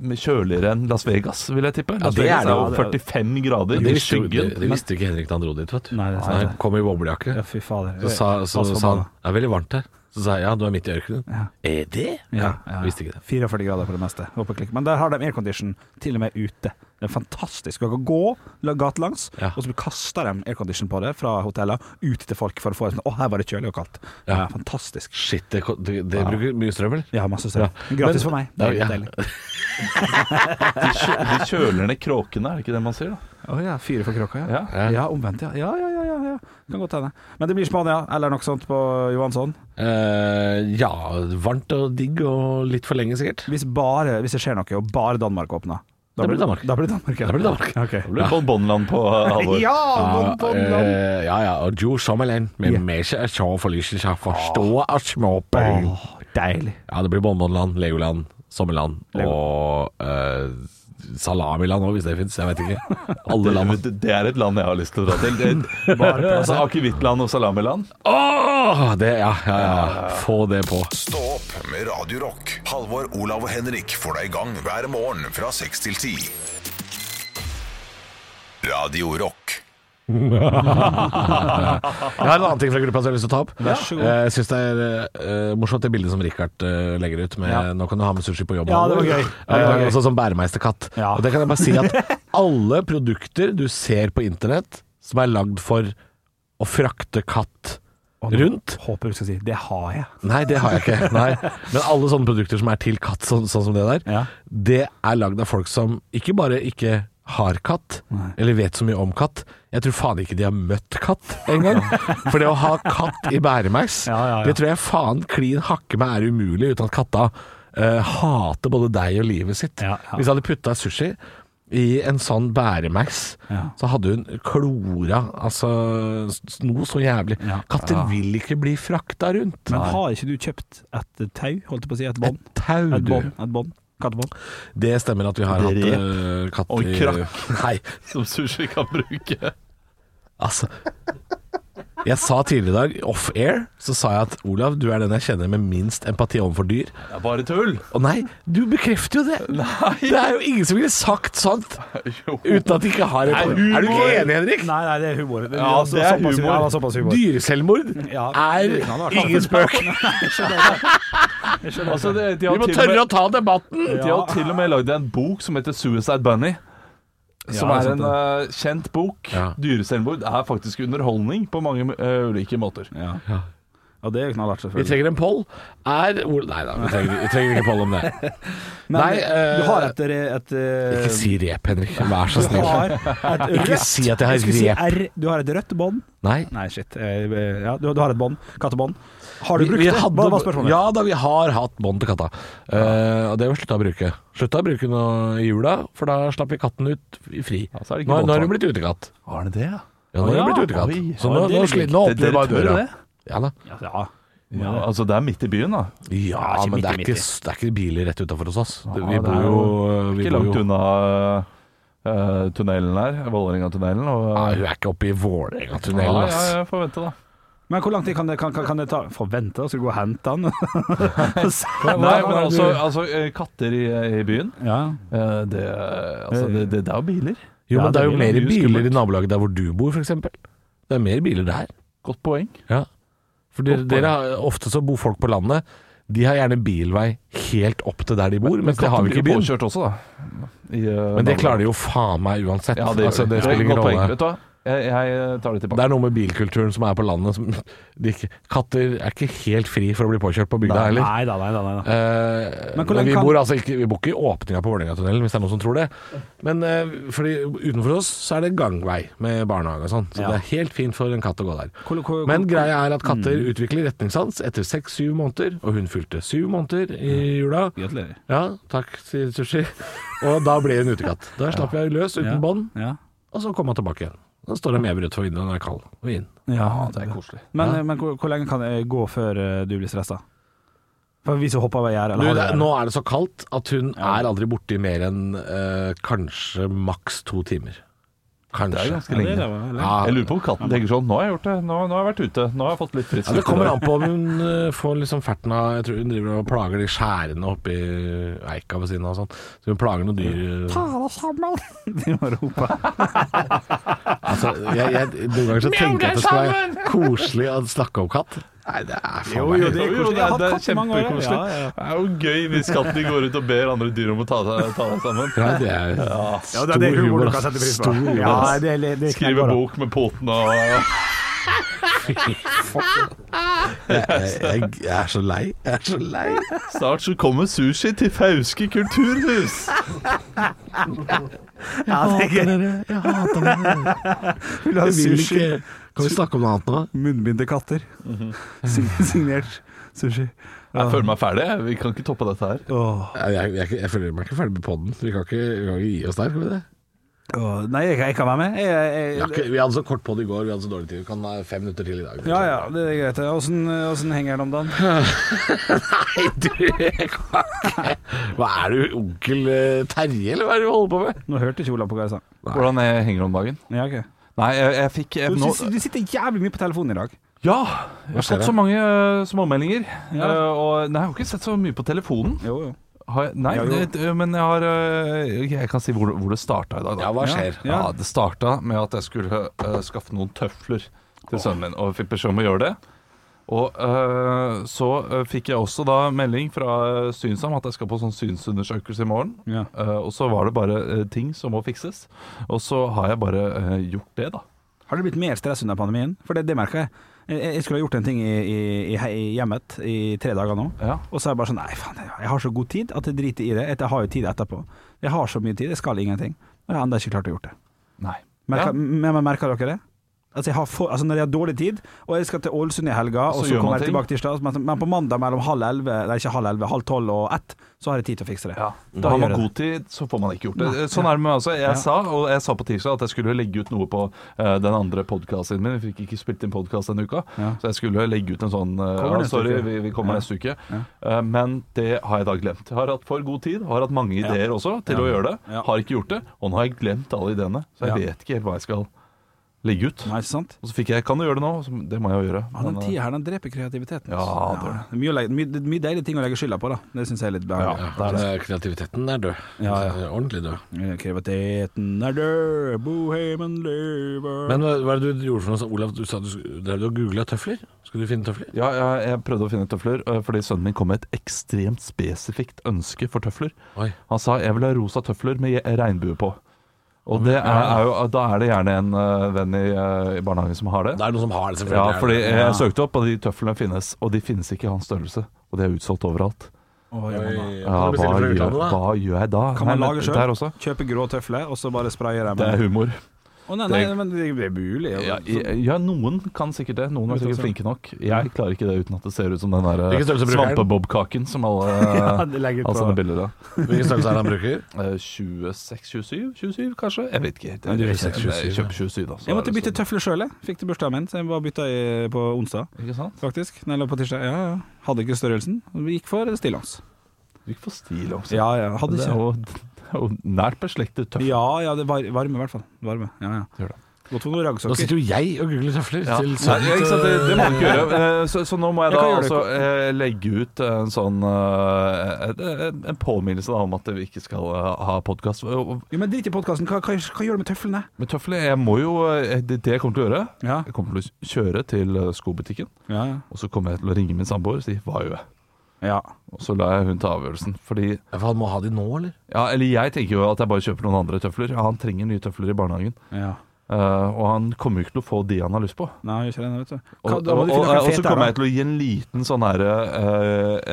S5: med kjøligere enn Las Vegas, vil jeg tippe. Las
S3: det er
S5: Vegas
S3: det,
S5: er
S4: ja,
S5: jo 45 grader
S3: Det
S5: i
S3: visste, jo-
S5: skyggen.
S3: det, det visste ikke Henrik da han dro dit, vet du.
S4: Nei, det er sant,
S3: han
S4: det.
S3: kom i boblejakke.
S4: Ja, fy fader.
S3: Så sa, så,
S4: Pass på
S3: sa han
S4: banen.
S3: Det er veldig varmt her. Så sa jeg ja, du er midt i ørkenen. Er det?
S4: ja, ja.
S3: Visste ikke det.
S4: 44 grader på det meste. Håper klikk. Men der har de aircondition til og med ute. Det er fantastisk. Du kan gå la- gatelangs,
S3: Ja.
S4: og så kaster de aircondition på det fra hotellet ut til folk for å få en sånn Å, her var det kjølig og kaldt.
S3: Ja.
S4: Ja, fantastisk.
S3: Shit, det, ko- det, det bruker mye strøm, eller?
S4: Ja, masse strøm. Gratis for meg. Det er
S3: Ja,
S4: litt
S3: ja.
S4: deilig.
S5: De, kjø, de kjøler ned kråkene, er det ikke det man sier? da?
S4: Å ja, fire for kråka, ja.
S5: Ja.
S4: ja. omvendt, ja. Ja, ja, ja, ja, ja. Kan godt hende. Men det blir Spania, eller noe sånt på Johansson.
S3: Eh, ja, varmt og digg og litt for lenge, sikkert.
S4: Hvis, bare, hvis det skjer noe, og bare Danmark åpner.
S3: Da blir det Danmark.
S4: Da blir det Danmark, ja.
S3: Da blir det Danmark.
S4: Ok.
S5: Det blir Bon Bonland på eh, Halvor.
S4: Ja,
S3: Ja,
S4: von Bonland!
S3: eh, ja, ja. Og Jo Sommerland med
S4: Ja.
S3: mye sjå for lyset, så forstå og småbøy.
S4: Åh, Deilig.
S3: Ja, det blir Bonbonland, Legoland, Sommerland og eh, Salamiland òg, hvis det fins. Jeg vet ikke. Alle land.
S5: Det, det er et land jeg har lyst til å dra til. Det- Bare- Altså Akevittland og salamiland.
S3: Åh, det, ja, ja, ja. Få det på.
S1: Stå opp med Radio Rock. Halvor, Olav og Henrik får deg i gang hver morgen fra 6 til 10. Radio Rock.
S3: Jeg har en annen ting fra gruppa som jeg har lyst til å ta opp.
S4: Vær så god.
S3: Eh, Jeg syns det er eh, morsomt det bildet som Richard eh, legger ut med
S4: Ja.
S3: 'nå kan du ha med sushi på jobb'.
S4: Ja, det var gøy. Ja, det var
S3: Eh,
S4: gøy.
S3: altså som bæremeisterkatt.
S4: Ja.
S3: Og det kan jeg bare si at alle produkter du ser på internett som er lagd for å frakte katt
S4: Og nå
S3: rundt
S4: Håper du skal si 'det har jeg'.
S3: Nei, det har jeg ikke. Nei. Men alle sånne produkter som er til katt, sånn, sånn som det der,
S4: Ja.
S3: det er lagd av folk som ikke bare ikke har katt, eller vet så mye om katt. Jeg tror faen ikke de har møtt katt engang. For det å ha katt i bæremeis,
S4: Ja, ja, ja.
S3: det tror jeg faen klin hakke meg er umulig uten at katta eh, hater både deg og livet sitt.
S4: Ja, ja.
S3: Hvis jeg hadde putta sushi i en sånn bæremaks,
S4: Ja.
S3: så hadde hun klora altså s- s- noe så jævlig.
S4: Ja.
S3: Katter vil ikke bli frakta rundt.
S4: Men har ikke du kjøpt et tau, holdt jeg på å si, et bånd?
S3: Et tau,
S4: Et
S3: du.
S4: bånd, et bånd. Kattebånd.
S3: Det stemmer at vi har hatt
S5: Rep.
S3: eh, katt
S5: Og
S3: i-
S5: krakk.
S3: Nei,
S5: Som sushi kan bruke.
S3: altså Jeg sa tidligere i dag, off-air, så sa jeg at Olav, du er den jeg kjenner med minst empati overfor dyr.
S5: Det er bare tull.
S3: Og nei, du bekrefter jo det! Det er jo ingen som ville sagt sånt
S5: Jo.
S3: uten at de ikke har et
S5: Det er humor.
S3: Er du ikke enig, Henrik?
S4: Nei, nei, det er humor. Det,
S5: Ja, det er
S4: såpass,
S5: humor.
S4: Ja, det er såpass humor.
S3: Dyreselvmord
S4: Ja.
S3: er ingen spøk.
S5: Altså, det, de
S3: Vi
S5: har
S3: må
S5: til og med-
S3: tørre å ta debatten!
S5: De har til og med lagd en bok som heter Suicide Bunny. Som
S3: Ja,
S5: er
S3: sant
S5: en
S3: det.
S5: eh, kjent bok.
S3: Ja.
S5: Dyreselvmord er faktisk underholdning på mange eh, ulike måter.
S4: Ja. ja, det er knallhardt,
S3: Vi
S4: selvfølgelig.
S3: trenger en poll. Er Olav Nei da, vi trenger, vi trenger ikke poll om det.
S4: Men
S3: Nei, eh,
S4: du har et, re- et eh,
S3: Ikke si rep, Henrik. Vær så
S4: Du
S3: snill.
S4: har et rødt
S3: Ikke si at jeg har
S4: Jeg skulle si
S3: rep.
S4: R. Du har et rødt bånd.
S3: Nei.
S4: Nei, shit. Eh, Ja, du, du har et bånd. Kattebånd. Har du
S3: Vi-
S4: brukt
S3: vi
S4: det?
S3: hadde-
S4: Hva var spørsmålet?
S3: Ja da, vi har hatt bånd til katta. Eh, og det har vi slutta å bruke. Slutta å bruke nå i jula, for da slapp vi katten ut i fri.
S5: Ja, så er det
S3: nå,
S5: ikke
S3: nå har
S5: båndtvang.
S3: hun blitt utekatt.
S5: Har den det, ja?
S3: Ja, nå har hun
S5: Å, ja.
S3: blitt utekatt.
S5: Oi.
S3: Så
S5: Ja,
S3: nå,
S5: det
S3: nå,
S5: ligger-
S3: sli- nå åpner vi
S5: Dere
S3: bare
S5: tør
S3: døra.
S5: det?
S3: Ja da.
S4: Ja.
S5: Ja, altså, det er midt i byen, da.
S3: Ja,
S4: ikke
S3: men det er, ikke,
S4: midt i, midt i.
S3: det er ikke biler rett utafor hos oss. Det-
S5: Ja,
S3: Vi
S5: det
S3: bor
S5: er
S3: jo vi
S5: Ikke
S3: bor
S5: langt
S3: jo-
S5: unna eh, tunnelen her. Vålerenga-tunnelen. Og
S3: Nei,
S5: eh,
S3: Hun er ikke oppe i Vålerenga-tunnelen,
S5: ja, ja,
S3: ass.
S5: jeg får vente, da.
S4: Men hvor lang tid kan det, kan, kan, kan det ta? Forvente, da? Skal du gå og hente den?
S5: Nei, men altså, altså eh, katter i, i byen
S4: ja.
S5: eh, det,
S3: Eh,
S5: altså, det, det, det er jo biler.
S3: Jo,
S4: Ja,
S3: men det er jo
S4: det
S3: mer
S4: blir jo
S3: biler i
S4: skummelt.
S3: nabolaget der hvor du bor, f.eks. Det er mer biler der.
S5: Godt poeng.
S3: Ja. For dere, dere har, ofte så bor folk på landet. De har gjerne bilvei helt opp til der de bor, mens det har vi ikke i
S5: blir
S3: byen.
S5: påkjørt også, da. I, eh,
S3: Men det klarer de jo faen meg uansett.
S5: Ja, det,
S3: altså,
S5: gjør de.
S3: det spiller
S5: er et
S3: ingen
S5: godt poeng.
S3: rolle.
S5: Vet du hva? Jeg, jeg eh, tar det tilbake.
S3: Det er noe med bilkulturen som er på landet som de ikke, Katter er ikke helt fri for å bli påkjørt på bygda heller.
S4: Nei da, nei da. Nei, da.
S3: Eh,
S4: Men
S3: men
S4: hvor lenge
S3: vi,
S4: kan-
S3: bor altså ikke, vi bor ikke i åpninga på Vålerenga-tunnelen, hvis det er noen som tror det. Men eh, fordi utenfor oss så er det gangvei med barnehage og sånn, så
S4: Ja.
S3: det er helt fint for en katt å gå der.
S4: Hvor- hvor- hvor-
S3: Men greia er at katter utvikler retningssans etter seks-syv måneder, og hun fylte syv måneder i jula.
S4: Gratulerer.
S3: Ja, takk, sier Sushi. Og da ble hun utekatt. Da slapp jeg løs uten
S4: Ja.
S3: bånd,
S4: Ja.
S3: og så kom hun tilbake igjen. Da står det med brød for vinduet når det er kald, og inn.
S4: ja.
S5: Det er koselig.
S4: Men, eh, men hvor, hvor lenge kan det gå før eh, du blir stressa? For hvis hun hopper over gjerdet,
S3: Du,
S4: eller har
S3: det,
S4: gjerdet?
S3: nå er det så kaldt at hun er aldri borti mer enn eh, kanskje maks to timer.
S5: Det er
S3: Kanskje.
S5: ganske lenge.
S3: Ja,
S5: Jeg lurer på om katten tenker sånn Nå har jeg gjort det, nå, nå har jeg vært ute, nå har jeg fått litt fritt
S3: ja, det kommer an på om hun eh, får liksom ferten av Jeg tror hun driver og plager de skjærene oppi eika ved siden av og sånn. Så hun plager noen dyr. eh,
S4: De må rope.
S3: Altså, jeg, jeg, noen ganger så tenker jeg at det skal være koselig å snakke om katt. Nei, det er faen meg
S5: det er,
S4: koselig. Jeg har
S5: det er
S4: hatt katt i mange år, ja.
S5: kjempekoselig.
S4: Ja, ja.
S5: Det er jo gøy hvis katten din går ut og ber andre dyr om å ta seg, ta seg sammen.
S3: Ja, det er
S4: Ja, det er det
S3: Stor
S4: humor du
S3: humor,
S4: kan sette pris på.
S3: stor humor,
S4: Ja,
S3: ass.
S4: det, det, det
S5: Skrive
S4: knekker, da.
S5: bok med poten og
S3: jeg, jeg, jeg er så lei. Jeg er så lei.
S5: Snart så kommer sushi til Fauske kulturhus.
S4: Ja, det er gøy.
S3: Jeg hater dere.
S4: Vil du ha
S3: Jeg vil
S4: sushi?
S3: ikke Kan vi snakke om noe annet nå?
S4: Munnbind til katter.
S5: Mhm.
S4: Sign- Signert sushi.
S5: Jeg føler meg ferdig. jeg. Vi kan ikke toppe dette her.
S4: Åh.
S3: Jeg, jeg, jeg, jeg føler meg ikke ferdig med poden. Vi kan ikke, vi kan ikke gi oss der, skal vi det?
S4: Åh, Nei, jeg, jeg kan være med. Jeg, jeg,
S3: Vi har ikke- vi hadde så kort på det i går, vi hadde så dårlig tid. Vi kan ha fem minutter til i dag.
S4: ja, ja, det er greit. Åssen åssen henger den om dagen?
S3: Nei, du jeg kan ikke. Hva er du, onkel eh, Terje, eller hva er det du holder på med?
S4: Nå hørte ikke Olav på hva jeg sa.
S5: Hvordan jeg henger om dagen?
S4: Ja, ok.
S5: Nei, jeg, jeg fikk jeg,
S4: Du,
S5: nå,
S4: du sitter jævlig mye på telefonen i dag.
S5: Ja! Jeg har
S3: skjer
S5: fått
S3: det?
S5: så mange eh, småmeldinger.
S4: Ja.
S5: eh, og, nei, jeg har ikke sett så mye på telefonen.
S4: Jo, jo.
S5: Har jeg, nei,
S4: Ja, jo.
S5: det- eh, men jeg har eh, Jeg kan si hvor, hvor det starta i dag, da.
S3: Ja, hva skjer? Ah,
S5: Ja, det starta med at jeg skulle eh, skaffe noen tøfler til sønnen min, og jeg fikk beskjed om å gjøre det. Og eh, så eh, fikk jeg også da melding fra eh, Synsam at jeg skal på sånn synsundersøkelse i morgen.
S4: Ja.
S5: Eh, og så var det bare eh, ting som må fikses. Og så har jeg bare eh, gjort det, da.
S4: Har det blitt mer stress under pandemien? For det, det merker jeg. jeg. Jeg skulle ha gjort en ting i, i, i, he- i hjemmet i tre dager nå.
S5: Ja.
S4: Og så er jeg bare sånn Nei, faen, jeg- jeg har så god tid at jeg driter i det. Jeg har jo tid etterpå. Jeg har så mye tid, jeg skal ingenting. Og jeg har ennå ikke klart å gjort det.
S5: Nei.
S4: Merker,
S5: Ja.
S4: men, men merker dere det? Altså, jeg har for, altså Når jeg har dårlig tid, og jeg skal til Ålesund i helga,
S5: Så
S4: og
S5: gjør
S4: så
S5: man
S4: kommer jeg
S5: ting.
S4: tilbake tirsdag, men, men på mandag mellom halv elleve, nei ikke halv elleve, halv tolv og ett, så har jeg tid til å fikse det.
S5: Ja. Da har
S4: gjør jeg
S5: man
S4: det.
S5: god tid, så får man ikke gjort det. Sånn er det med meg også. Jeg sa, og jeg sa på tirsdag, at jeg skulle legge ut noe på eh, den andre podkasten min. Vi fikk ikke spilt inn podkast denne uka,
S4: Ja.
S5: så jeg skulle legge ut en sånn eh,
S4: Kommer
S5: ja,
S4: neste
S5: Sorry,
S4: uke.
S5: vi, vi kommer
S4: Ja.
S5: neste uke. Eh, men det har jeg da glemt. Jeg har hatt for god tid, har hatt mange ideer også til å gjøre det.
S4: Ja.
S5: Har ikke gjort det, og nå har jeg glemt alle ideene, så jeg
S4: Ja.
S5: vet ikke helt hva jeg skal legge ut.
S4: Nei, ikke sant?
S5: Og så fikk jeg 'kan du gjøre det nå'? Så det må jeg jo gjøre.
S4: Ja, den
S5: Men, eh,
S4: tida her, den dreper kreativiteten. altså.
S5: Ja, det
S4: det
S5: gjør
S4: er mye, å legge- mye, det er mye deilige ting å legge skylda på, da. Det syns jeg er litt behagelig.
S3: Ja, der er kreativiteten er død.
S4: Ja, ja.
S3: Den er Ordentlig død.
S4: Eh, Kreativiteten er død, bohemen lever
S3: Men hva hva er det du gjorde for noe? sånn, Olav, du sa du skulle- drev du og googla tøfler? Skulle du finne tøfler?
S5: Ja, jeg, jeg prøvde å finne tøfler, øh, fordi sønnen min kom med et ekstremt spesifikt ønske for tøfler.
S3: Oi.
S5: Han sa 'jeg vil ha rosa tøfler med je- regnbue på'. Og det er, er jo, da er det gjerne en øh, venn i, øh, i barnehagen som har
S3: Det
S5: det.
S3: er noen som har det, selvfølgelig.
S5: Ja,
S3: er det
S5: fordi
S3: det.
S5: jeg søkte opp, og de tøflene finnes. Og de finnes ikke i hans størrelse. Og de er utsolgt overalt.
S4: Å, ja, mamma.
S3: Oi, kan du
S5: Ja, hva,
S3: bestille fra
S5: gjør,
S3: utlandet, da?
S5: hva gjør jeg da?
S4: Kan man
S5: Nei,
S4: lage
S5: men
S4: sjøl?
S5: Der også.
S4: Kjøpe grå tøfler, og så bare spraye dem
S5: Det er humor.
S4: Å, nei, nei, men det det er mulig.
S5: Ja,
S4: Ja,
S5: i- ja, noen kan sikkert det. Noen er sikkert flinke nok. Jeg klarer ikke det uten at det ser ut som den der øh,
S3: Hvilken størrelse bruker den?
S5: svampebobkaken som alle
S4: Ja,
S5: alle
S4: Altså, det legger ut
S5: sender
S4: på.
S5: bilder av.
S3: Hvilken størrelse er det han bruker?
S5: Eh, 26, 27, 27 kanskje? Jeg vet ikke. helt.
S4: Nei, du vet ikke.
S5: Jeg kjøper 27 da. så
S4: Jeg måtte
S5: er det
S4: bytte
S5: sånn.
S4: tøfler sjøl, jeg. Fikk til bursdagen min, så jeg bare bytta i, på onsdag,
S5: Ikke sant?
S4: faktisk. Nei, eller på tirsdag. Ja, ja. Hadde ikke størrelsen. Vi gikk for stillongs.
S5: Du ikke får stil om seg.
S4: Ja, ja. Hadde
S5: det
S4: ikke.
S5: er jo det er jo nært beslektet tøff.
S4: Ja, ja, det var varme i hvert fall. Varme. Ja, ja.
S5: Gjør det.
S4: Godt for noen
S3: Da
S4: raggsokker.
S3: sitter jo jeg og googler tøfler
S5: Ja.
S3: til
S5: Nei,
S3: sønnen
S5: ikke sant? Det, det må du ikke gjøre. Eh, Så, så nå må
S4: Jeg
S5: jeg da
S4: kan gjøre det.
S5: altså eh, legge ut en sånn eh, en- En påminnelse da om at vi ikke skal eh, ha podkast.
S4: Ja, men drit i podkasten. Hva, hva, hva gjør du med tøflene?
S5: Men tøfler, jeg må jo eh, Det det jeg kommer til å gjøre,
S4: Ja.
S5: jeg kommer til å kjøre til eh, skobutikken,
S4: Ja, ja.
S5: og så kommer jeg til å ringe min samboer og si 'hva gjør jeg?'
S4: ja.
S5: Og så lar jeg hun ta avgjørelsen. Fordi
S3: Ja, for Han må ha de nå, eller?
S5: Ja, eller jeg tenker jo at jeg bare kjøper noen andre tøfler. Ja, han trenger nye tøfler i barnehagen.
S4: ja.
S5: Eh, og han kommer jo ikke til å få de han har lyst på.
S4: Nei, jeg gjør ikke det, vet du.
S5: Og,
S4: Hva, da
S5: og,
S4: må
S5: og,
S4: du finne noen
S5: så
S4: fete her,
S5: kommer jeg
S4: da.
S5: til å gi en liten sånn herre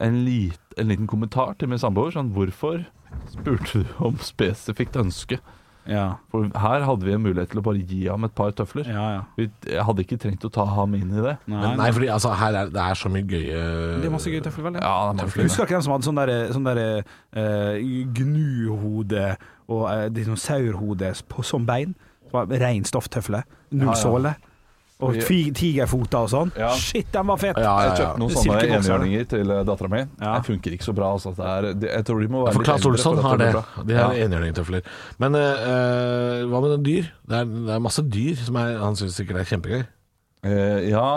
S5: en, lit, en liten kommentar til min samboer. Sånn, hvorfor spurte du om spesifikt ønske?
S4: Ja,
S5: For her hadde vi en mulighet til å bare gi ham et par tøfler.
S4: ja. ja.
S5: Vi, jeg hadde ikke trengt å ta ham inn i det.
S3: Men nei, fordi altså, her er, det er så mye gøye
S4: Det er masse gøy tøfler, vel?
S5: Ja, det er
S4: Jeg
S5: mange fine.
S4: husker ikke hvem som hadde sånn der, sånn der eh, gnuhode og eh, dinosaurhode på- som bein. Det var Rein stofftøfle. Null såle. Og ti- tigerfoter og sånn.
S5: Ja.
S4: Shit, den var fet!
S3: Ja, ja,
S5: Jeg
S3: ja.
S5: kjøpte noen
S4: Det er
S5: sånne
S4: silkebokser.
S5: enhjørninger til eh, dattera mi.
S4: Ja.
S5: Det funker ikke så bra. Altså. Det er, det, jeg tror de må være
S3: For
S5: litt
S3: Claes
S5: eldre
S3: Olsson
S5: for at
S3: har det.
S5: blir bra.
S3: De er enhjørningtøfler. Men eh, hva med dyr? Det er, det er masse dyr som er, han syns sikkert er kjempegøy.
S5: Eh, ja.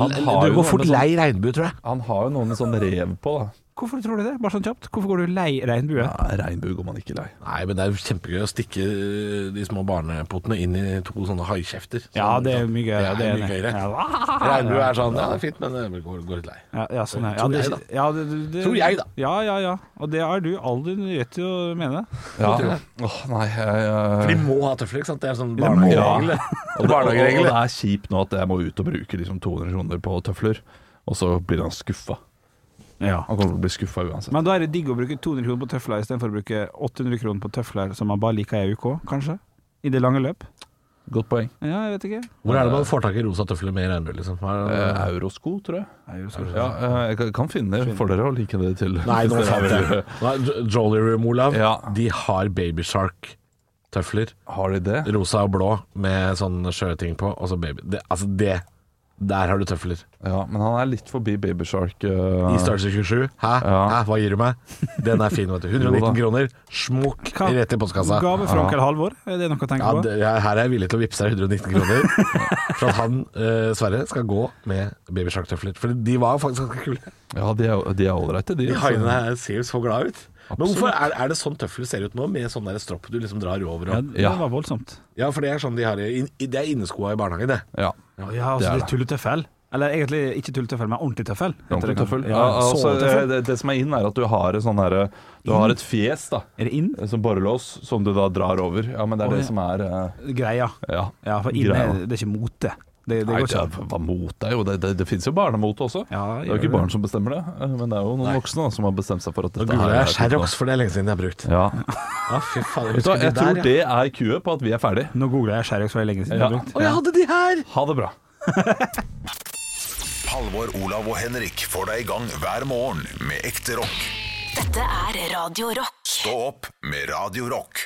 S5: Han har,
S3: Du
S5: jo
S3: går fort
S5: noen med sånn,
S3: lei regnbue, tror jeg.
S5: han har jo noen med sånn rev på, da.
S4: Hvorfor tror du det? Bare sånn kjapt. Hvorfor går du lei regnbue?
S5: Nei, regnbue går man ikke lei.
S3: Nei, men det er kjempegøy å stikke eh, de små barnepotene inn i to sånne haikjefter. Sånn,
S4: Ja, det er mye gøyere.
S3: Det er mye
S4: enig.
S3: gøyere.
S4: Ja,
S3: Regnbue er sånn, ja det er fint, men det går, går litt lei.
S4: ja, ja, sånn er. ja,
S3: Tror
S4: det-
S3: jeg, da.
S4: Ja, det, det, det,
S3: Tror jeg, da.
S4: Ja, ja, ja. Og det har du all din rett til å mene.
S5: Ja. Åh, nei, jeg,
S3: For de
S5: jeg
S3: må ha tøfler, ikke sant? Det er sånn
S4: må.
S3: barnehageregel.
S5: og, det, og, og
S3: Barnehageregel.
S5: det er kjipt nå at jeg må ut og bruke liksom 200 kroner på tøfler, og så blir han skuffa.
S4: Ja.
S5: Han kommer til å bli skuffa uansett.
S4: Men da er det digg å bruke 200 kroner på tøfler istedenfor å bruke 800 kroner på tøfler som man bare liker i ei uke, kanskje? I det lange løp?
S5: Godt poeng.
S4: Ja, jeg vet ikke.
S3: Hvor er det man får tak i rosa tøfler med regnbue, liksom? Hva
S5: Eh,
S3: er det-
S5: eurosko, tror jeg.
S4: Nei, jeg tror ikke det.
S5: Ja, eh, jeg kan- kan finne det for dere og like det til.
S3: Nei, nå
S5: Hvis dere
S3: fant
S5: vil-
S3: jeg det. Nå er Jo- Jolly Room, Olav,
S5: Ja.
S3: de har Baby Shark tøfler,
S5: Har de det?
S3: rosa og blå med sånn skjøre ting på, og så baby. Det, altså det Der har du tøfler.
S5: Ja, men han er litt forbi eh, Babyshark.
S3: I størrelse 27. Hæ?
S5: Ja.
S3: Hæ? Hva gir du meg? Den er fin, vet du. 119
S5: Jo
S3: kroner. Smukk
S4: Hva-
S3: rett i postkassa.
S4: Gave fra onkel Halvor, er det noe å tenke
S3: Ja,
S4: på?
S3: det, ja, her er jeg villig til å vippse deg 119 kroner for at han, eh, Sverre, skal gå med babysharktøfler. For de var jo faktisk ganske kule.
S5: Ja, de er de er ålreite, de.
S3: De
S5: altså.
S3: haiene her ser jo så glad ut. Men hvorfor er, er det sånn tøfler ser ut nå, med sånn der stropp du liksom drar over
S4: Ja,
S3: og
S4: det
S5: Ja.
S4: var voldsomt.
S3: Ja, for det er sånn de har i- i- Det er inneskoa i barnehagen, det.
S5: Ja.
S4: Ja,
S5: Det
S4: altså
S5: er
S4: litt tulletøffel. Eller egentlig ikke tulletøffel, men ordentlig tøffel. heter
S5: Ordentlig
S4: det kanskje.
S5: tøffel. Ja,
S4: Ja,
S5: altså,
S4: sovetøffel.
S5: det, det som er inn, er at du har et sånn derre Du har et fjes, da.
S4: Er det inn?
S5: Som borrelås, som du da drar over. Ja, men det
S4: Å,
S5: er
S4: ja.
S5: det som er eh,
S4: Greia.
S5: Ja.
S4: Ja, for inn
S5: Greia.
S4: er det er ikke mote. Det, det
S5: Nei,
S4: går
S5: det
S4: ikke.
S5: er, hva mot er jo Det, det, det fins jo barnemote også.
S4: Ja,
S5: det er jo
S4: gjør
S5: ikke barn som bestemmer det, eh, men det er jo noen voksne da, som har bestemt seg for at
S3: Nå
S5: dette
S3: googler jeg
S5: er
S3: Sherrox, for det er lenge siden jeg har brukt.
S5: Ja.
S3: Ja, fy faen, jeg
S5: Vet du hva,
S3: husker de
S5: jeg tror
S3: der, ja.
S5: det er kuet på at vi er ferdig.
S4: Nå googla jeg Sherrox for lenge siden. jeg
S5: Ja.
S4: har brukt.
S3: Å, jeg hadde de her!
S5: Ha det bra.
S1: Halvor, Olav og Henrik får deg i gang hver morgen med ekte rock.
S2: Dette er Radio Rock.
S1: Stå opp med Radio Rock.